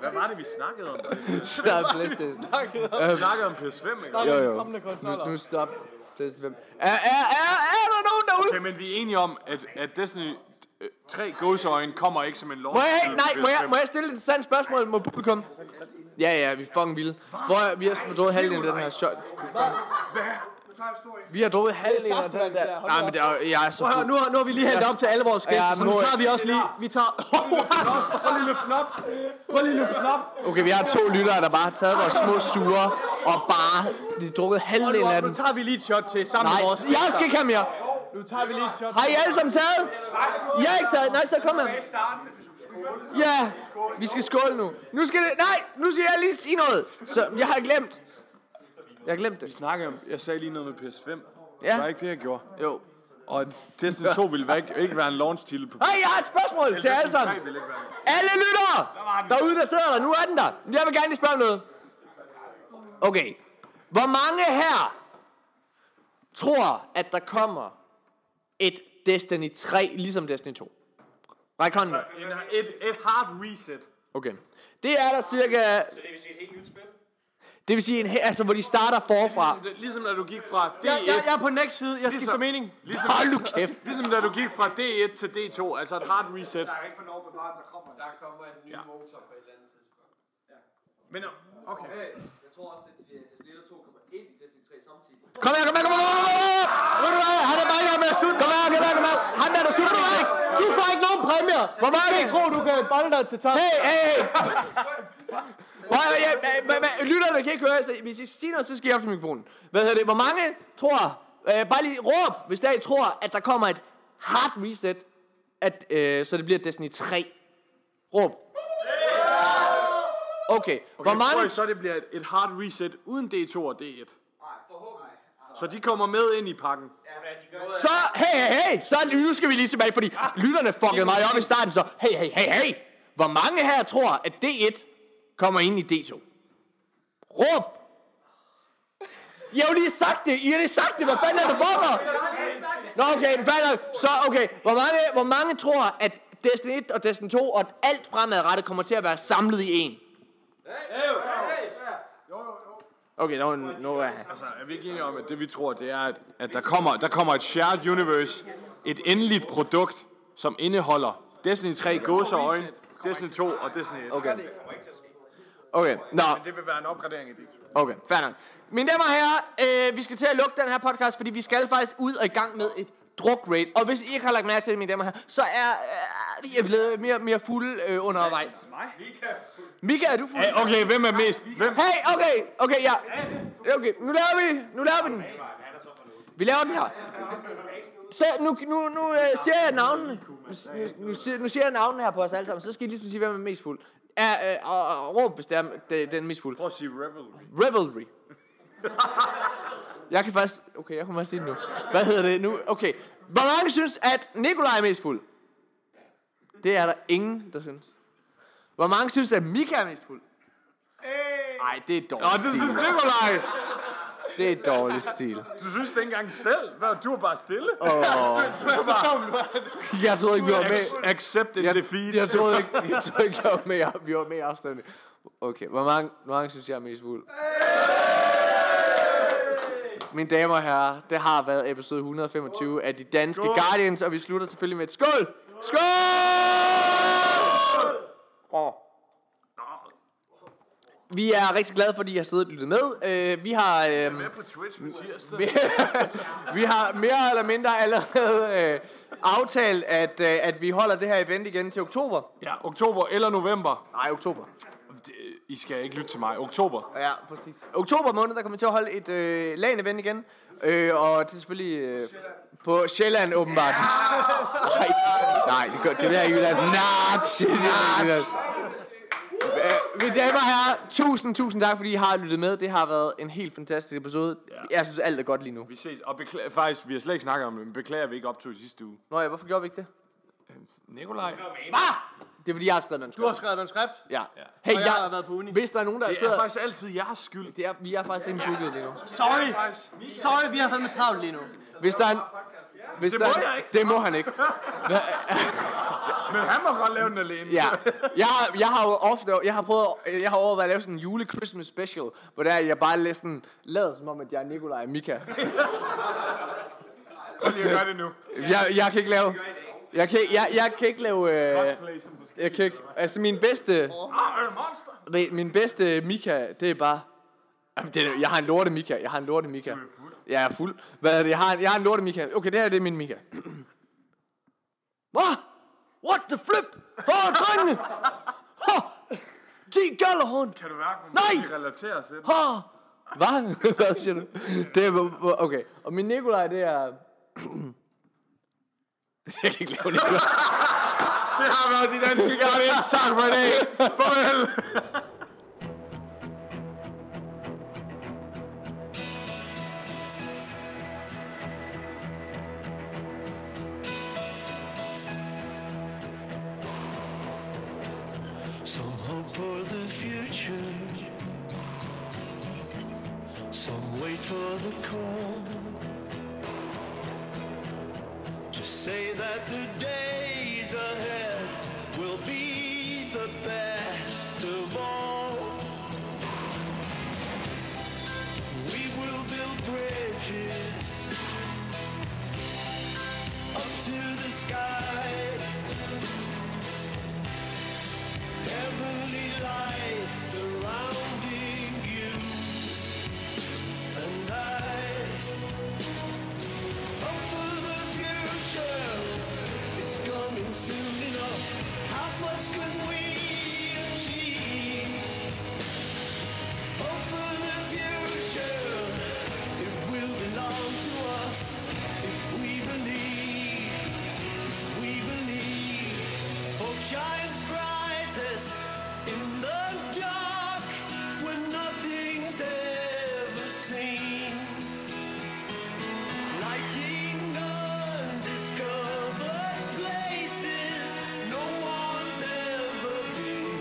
Speaker 2: Hvad var det, vi snakkede
Speaker 1: <laughs>
Speaker 2: om?
Speaker 1: der er flere
Speaker 2: Vi snakkede om PS5, ikke?
Speaker 1: Jo, jo. Nu, nu stop. PlayStation 5. Er, er, er, er der nogen derude?
Speaker 2: Okay, men vi er enige om, at, at Destiny øh, 3 Godsøjen kommer ikke som en lov.
Speaker 1: Må jeg, nej, må jeg, må jeg stille et sandt spørgsmål mod publikum? Ja, ja, vi er fucking vilde. Hvor er, vi har drukket halvdelen af den her shot. Vi har drukket halvdelen af den der. Nej, men det er, jo- jeg er så
Speaker 3: Prøv at høre,
Speaker 1: fuld.
Speaker 3: nu, har- nu har vi lige hældt op til alle vores gæster,
Speaker 1: Ja,
Speaker 3: så nu
Speaker 1: nu-
Speaker 3: tager vi også lige... Vi <laughs> tager...
Speaker 2: Prøv lige at løfte den op. Prøv lige at løfte den op.
Speaker 1: Okay, vi har to lyttere, der bare har taget vores små sure og bare de har drukket halvdelen af
Speaker 3: Oh,
Speaker 1: den.
Speaker 3: nu tager vi lige et shot til sammen
Speaker 1: Nej,
Speaker 3: med vores
Speaker 1: jeg skal ikke have mere.
Speaker 3: Nu tager vi lige et shot
Speaker 1: Har I alle sammen taget? Jeg har ikke taget. Nej, så kom her. Ja, vi skal skåle nu. Nu skal det... Nej, nu skal jeg lige sige noget. Så jeg har glemt. Jeg har glemt det.
Speaker 2: Snakke om, jeg sagde lige noget med PS5.
Speaker 1: Ja.
Speaker 2: Det var ikke det, jeg gjorde.
Speaker 1: Jo.
Speaker 2: Og Destiny 2 ville
Speaker 1: <laughs>
Speaker 2: væk, ikke være en launch titel på
Speaker 1: Hej, jeg har et spørgsmål til alle sammen.
Speaker 2: Destiny 3 ville ikke være en-
Speaker 1: Alle lyttere derude, der sidder der. Nu er den der. Jeg vil gerne lige spørge om noget. Okay. Hvor mange her tror, at der kommer et Destiny 3, ligesom Destiny 2? Ræk hånden. op.
Speaker 2: En, et, et hard reset.
Speaker 1: Okay. Det er der cirka... Så det vil sige et helt nyt spil? Det vil sige, en, he- altså, hvor de starter forfra.
Speaker 2: Det, ligesom da du gik fra D1...
Speaker 3: Jeg, jeg, jeg er på next side, jeg skifter mening.
Speaker 2: Ligesom,
Speaker 1: Hold nu kæft.
Speaker 2: ligesom da du gik fra D1 til D2, altså et hard reset. Der er ikke på Norge der kommer, der kommer en ny motor på et eller andet tidspunkt. Ja. Men, okay.
Speaker 1: Kom her, kom her, kom her, kom her, kom her! Ved du hvad? Han er bare i gang med at sutte. Kom her, kom her, kom her. Han der, der sutter, du ikke. Du får ikke nogen præmier. Hvor meget er
Speaker 3: Jeg
Speaker 1: det?
Speaker 3: tror, du kan bolle dig til top.
Speaker 1: Hey, hey, hey. Prøv at høre, ja, men- men- lytterne kan ikke høre, så hvis I siger noget, så skal jeg op til mikrofonen. Hvad hedder det? Hvor mange tror, øh, bare lige råb, hvis der I tror, at der kommer et hard reset, at, øh, så det bliver Destiny 3. Råb. Okay, hvor
Speaker 2: Jeg tror
Speaker 1: mange...
Speaker 2: I så, det bliver et, et hard reset uden D2 og D1? Nej, forhåbentlig. Så de kommer med ind i pakken.
Speaker 1: Så, hey, hey, hey, så nu skal vi lige tilbage, fordi lytterne fuckede mig op i starten, så hey, hey, hey, hey. Hvor mange her tror, at D1 kommer ind i D2? Råb! Jeg har jo lige sagt det, I har lige sagt det, hvad fanden er det, hvorfor? Nå, okay, den falder. Så, okay, hvor mange, hvor mange tror, at Destiny 1 og Destiny 2 og alt fremadrettet kommer til at være samlet i en? Okay, nu, nu er
Speaker 2: Altså, er vi ikke enige om, at det vi tror, det er, at, at der, kommer, der kommer et shared universe, et endeligt produkt, som indeholder Destiny 3 gåser øjne, Destiny 2 og Destiny 1. Okay.
Speaker 1: Okay, nå.
Speaker 2: Det vil være en opgradering i D2.
Speaker 1: Okay, fair nok. Mine damer og herrer, øh, vi skal til at lukke den her podcast, fordi vi skal faktisk ud og i gang med et druk-rate. Og hvis I ikke har lagt mærke til det, mine damer og herrer, så er øh, I er blevet mere, mere fulde øh, undervejs. Mika, er du fuld?
Speaker 2: Okay, hvem er mest? Hvem?
Speaker 1: Hey, okay, okay, ja. Okay, nu laver vi, nu laver vi den. Vi laver den her. Så nu, nu, nu uh, siger jeg navnene. Nu, nu, nu, siger, nu siger jeg navnene her på os alle sammen, så skal I ligesom sige, hvem er mest fuld. Er, øh, og, og råb, hvis det er det, den mest fuld.
Speaker 2: Prøv at sige Revelry.
Speaker 1: Revelry. jeg kan faktisk... Okay, jeg kommer faktisk sige det nu. Hvad hedder det nu? Okay. Hvor mange synes, at Nikolaj er mest fuld? Det er der ingen, der synes. Hvor mange synes, at Mika er mest fuld? Nej, det er
Speaker 2: Nå,
Speaker 1: dårlig
Speaker 2: det
Speaker 1: stil.
Speaker 2: synes Nikolaj!
Speaker 1: Det er dårlig stil.
Speaker 2: Du synes det ikke engang selv. Hvad, du er bare stille.
Speaker 1: Jeg troede ikke, vi var med.
Speaker 2: Ac- accept and
Speaker 1: Jeg,
Speaker 2: defeat.
Speaker 1: jeg troede ikke, jeg troede ikke, jeg var med, i- vi var med i afstemningen. Okay, hvor mange, hvor mange synes jeg er mest fuld? Mine damer og herrer, det har været episode 125 af De Danske skål. Guardians, og vi slutter selvfølgelig med et skål! Skål! Åh. Vi er rigtig glade, fordi I har siddet og lyttet med. Øh, vi har... Øh,
Speaker 2: på Twitch på tirsdag.
Speaker 1: <laughs> vi har mere eller mindre allerede øh, aftalt, at, øh, at vi holder det her event igen til oktober.
Speaker 2: Ja, oktober eller november.
Speaker 1: Nej, oktober.
Speaker 2: Det- I skal ikke lytte til mig. Oktober.
Speaker 1: Ja, præcis. Oktober måned, der kommer vi til at holde et øh, LAN-event igen. Øh, og det er selvfølgelig øh, på Sjælland, åbenbart. <laughs> nej, nej, det, gør, det bliver ikke <laughs> Jylland. Nart, nart. Øh, mine damer og herrer, tusind, tusind tak, fordi I har lyttet med. Det har været en helt fantastisk episode. Jeg synes, alt er godt lige nu.
Speaker 2: Vi ses. Og beklager, faktisk, vi har slet ikke snakket om det, men beklager, at vi ikke optog i sidste uge. Øh,
Speaker 1: Nå ja, hvorfor gjorde vi ikke det?
Speaker 2: Nikolaj.
Speaker 1: Det er, fordi jeg har skrevet en
Speaker 3: Du har skrevet manuskript.
Speaker 1: Ja. Hey,
Speaker 3: Og
Speaker 1: jeg,
Speaker 3: jeg har været på uni.
Speaker 1: Hvis der er nogen, der
Speaker 2: Det er
Speaker 1: sidder...
Speaker 2: faktisk altid jeres skyld.
Speaker 1: Det er, vi er faktisk ikke booket lige nu.
Speaker 3: Sorry. Sorry, vi har fandme travlt lige nu.
Speaker 1: Hvis der er en, hvis det der,
Speaker 2: må jeg ikke.
Speaker 1: Det må han ikke.
Speaker 2: Men han må godt lave den alene. <laughs>
Speaker 1: Ja. Jeg, har- jeg har jo ofte, jeg har prøvet, jeg har overvejet at lave sådan en jule-Christmas special, hvor der jeg bare lidt sådan, lader som om, at jeg er Nikolaj og Mika.
Speaker 2: Jeg gør det nu.
Speaker 1: Jeg, jeg kan ikke lave, jeg kan, jeg, jeg kan ikke lave, øh,
Speaker 2: Play som på skidt.
Speaker 1: jeg kan ikke, altså min bedste,
Speaker 2: Ah, er det monster?
Speaker 1: ved- min bedste øh, Mika, det er bare, Jamen, det er, jeg har en lorte Mika, jeg har en lorte Mika. Jeg er fuld. Hvad er det? Jeg har, en- jeg har en lorte Mika. Okay, det her det er min Mika. Hvad? What the flip? Åh, oh, drengene! Åh, oh, de gallahund!
Speaker 2: Kan du mærke, hvor
Speaker 1: Nej!
Speaker 2: meget vi relaterer til det?
Speaker 1: Åh! Hvad? <laughs> Hvad siger du? Det er, okay. Og min Nikolaj, det er... jeg kan ikke lave Nikolaj.
Speaker 2: Det har været de danske garde. Tak for i dag. Farvel.
Speaker 7: Some hope for the future. Some wait for the call. Just say that the days ahead will be the best of all. We will build bridges up to the sky. Heavenly lights surrounding you and I. Hope for the future, it's coming soon enough. How much can we achieve? Hope for the future, it will belong to us if we believe. If we believe. Hope shines brightest in the dark when nothing's ever seen. Lighting undiscovered places no one's ever been.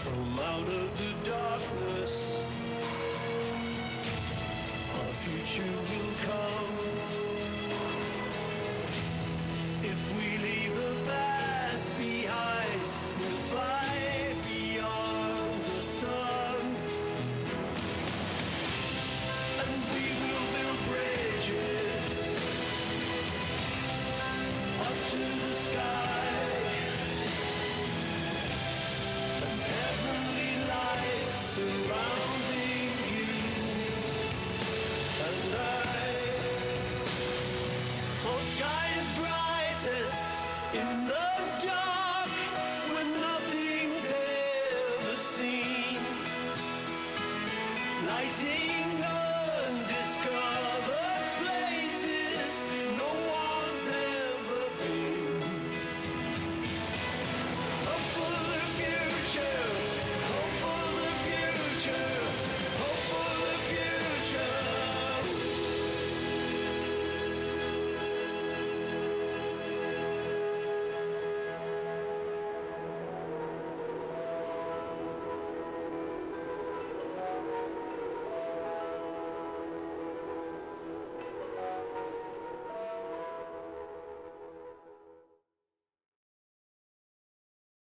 Speaker 7: from out of the darkness. Our future will come if we leave the past behind. We'll fly beyond the sun, and we will build bridges up to the sky. Heavenly lights surrounding you and I. Hope shines brightest in the dark when nothing's ever seen. Lighting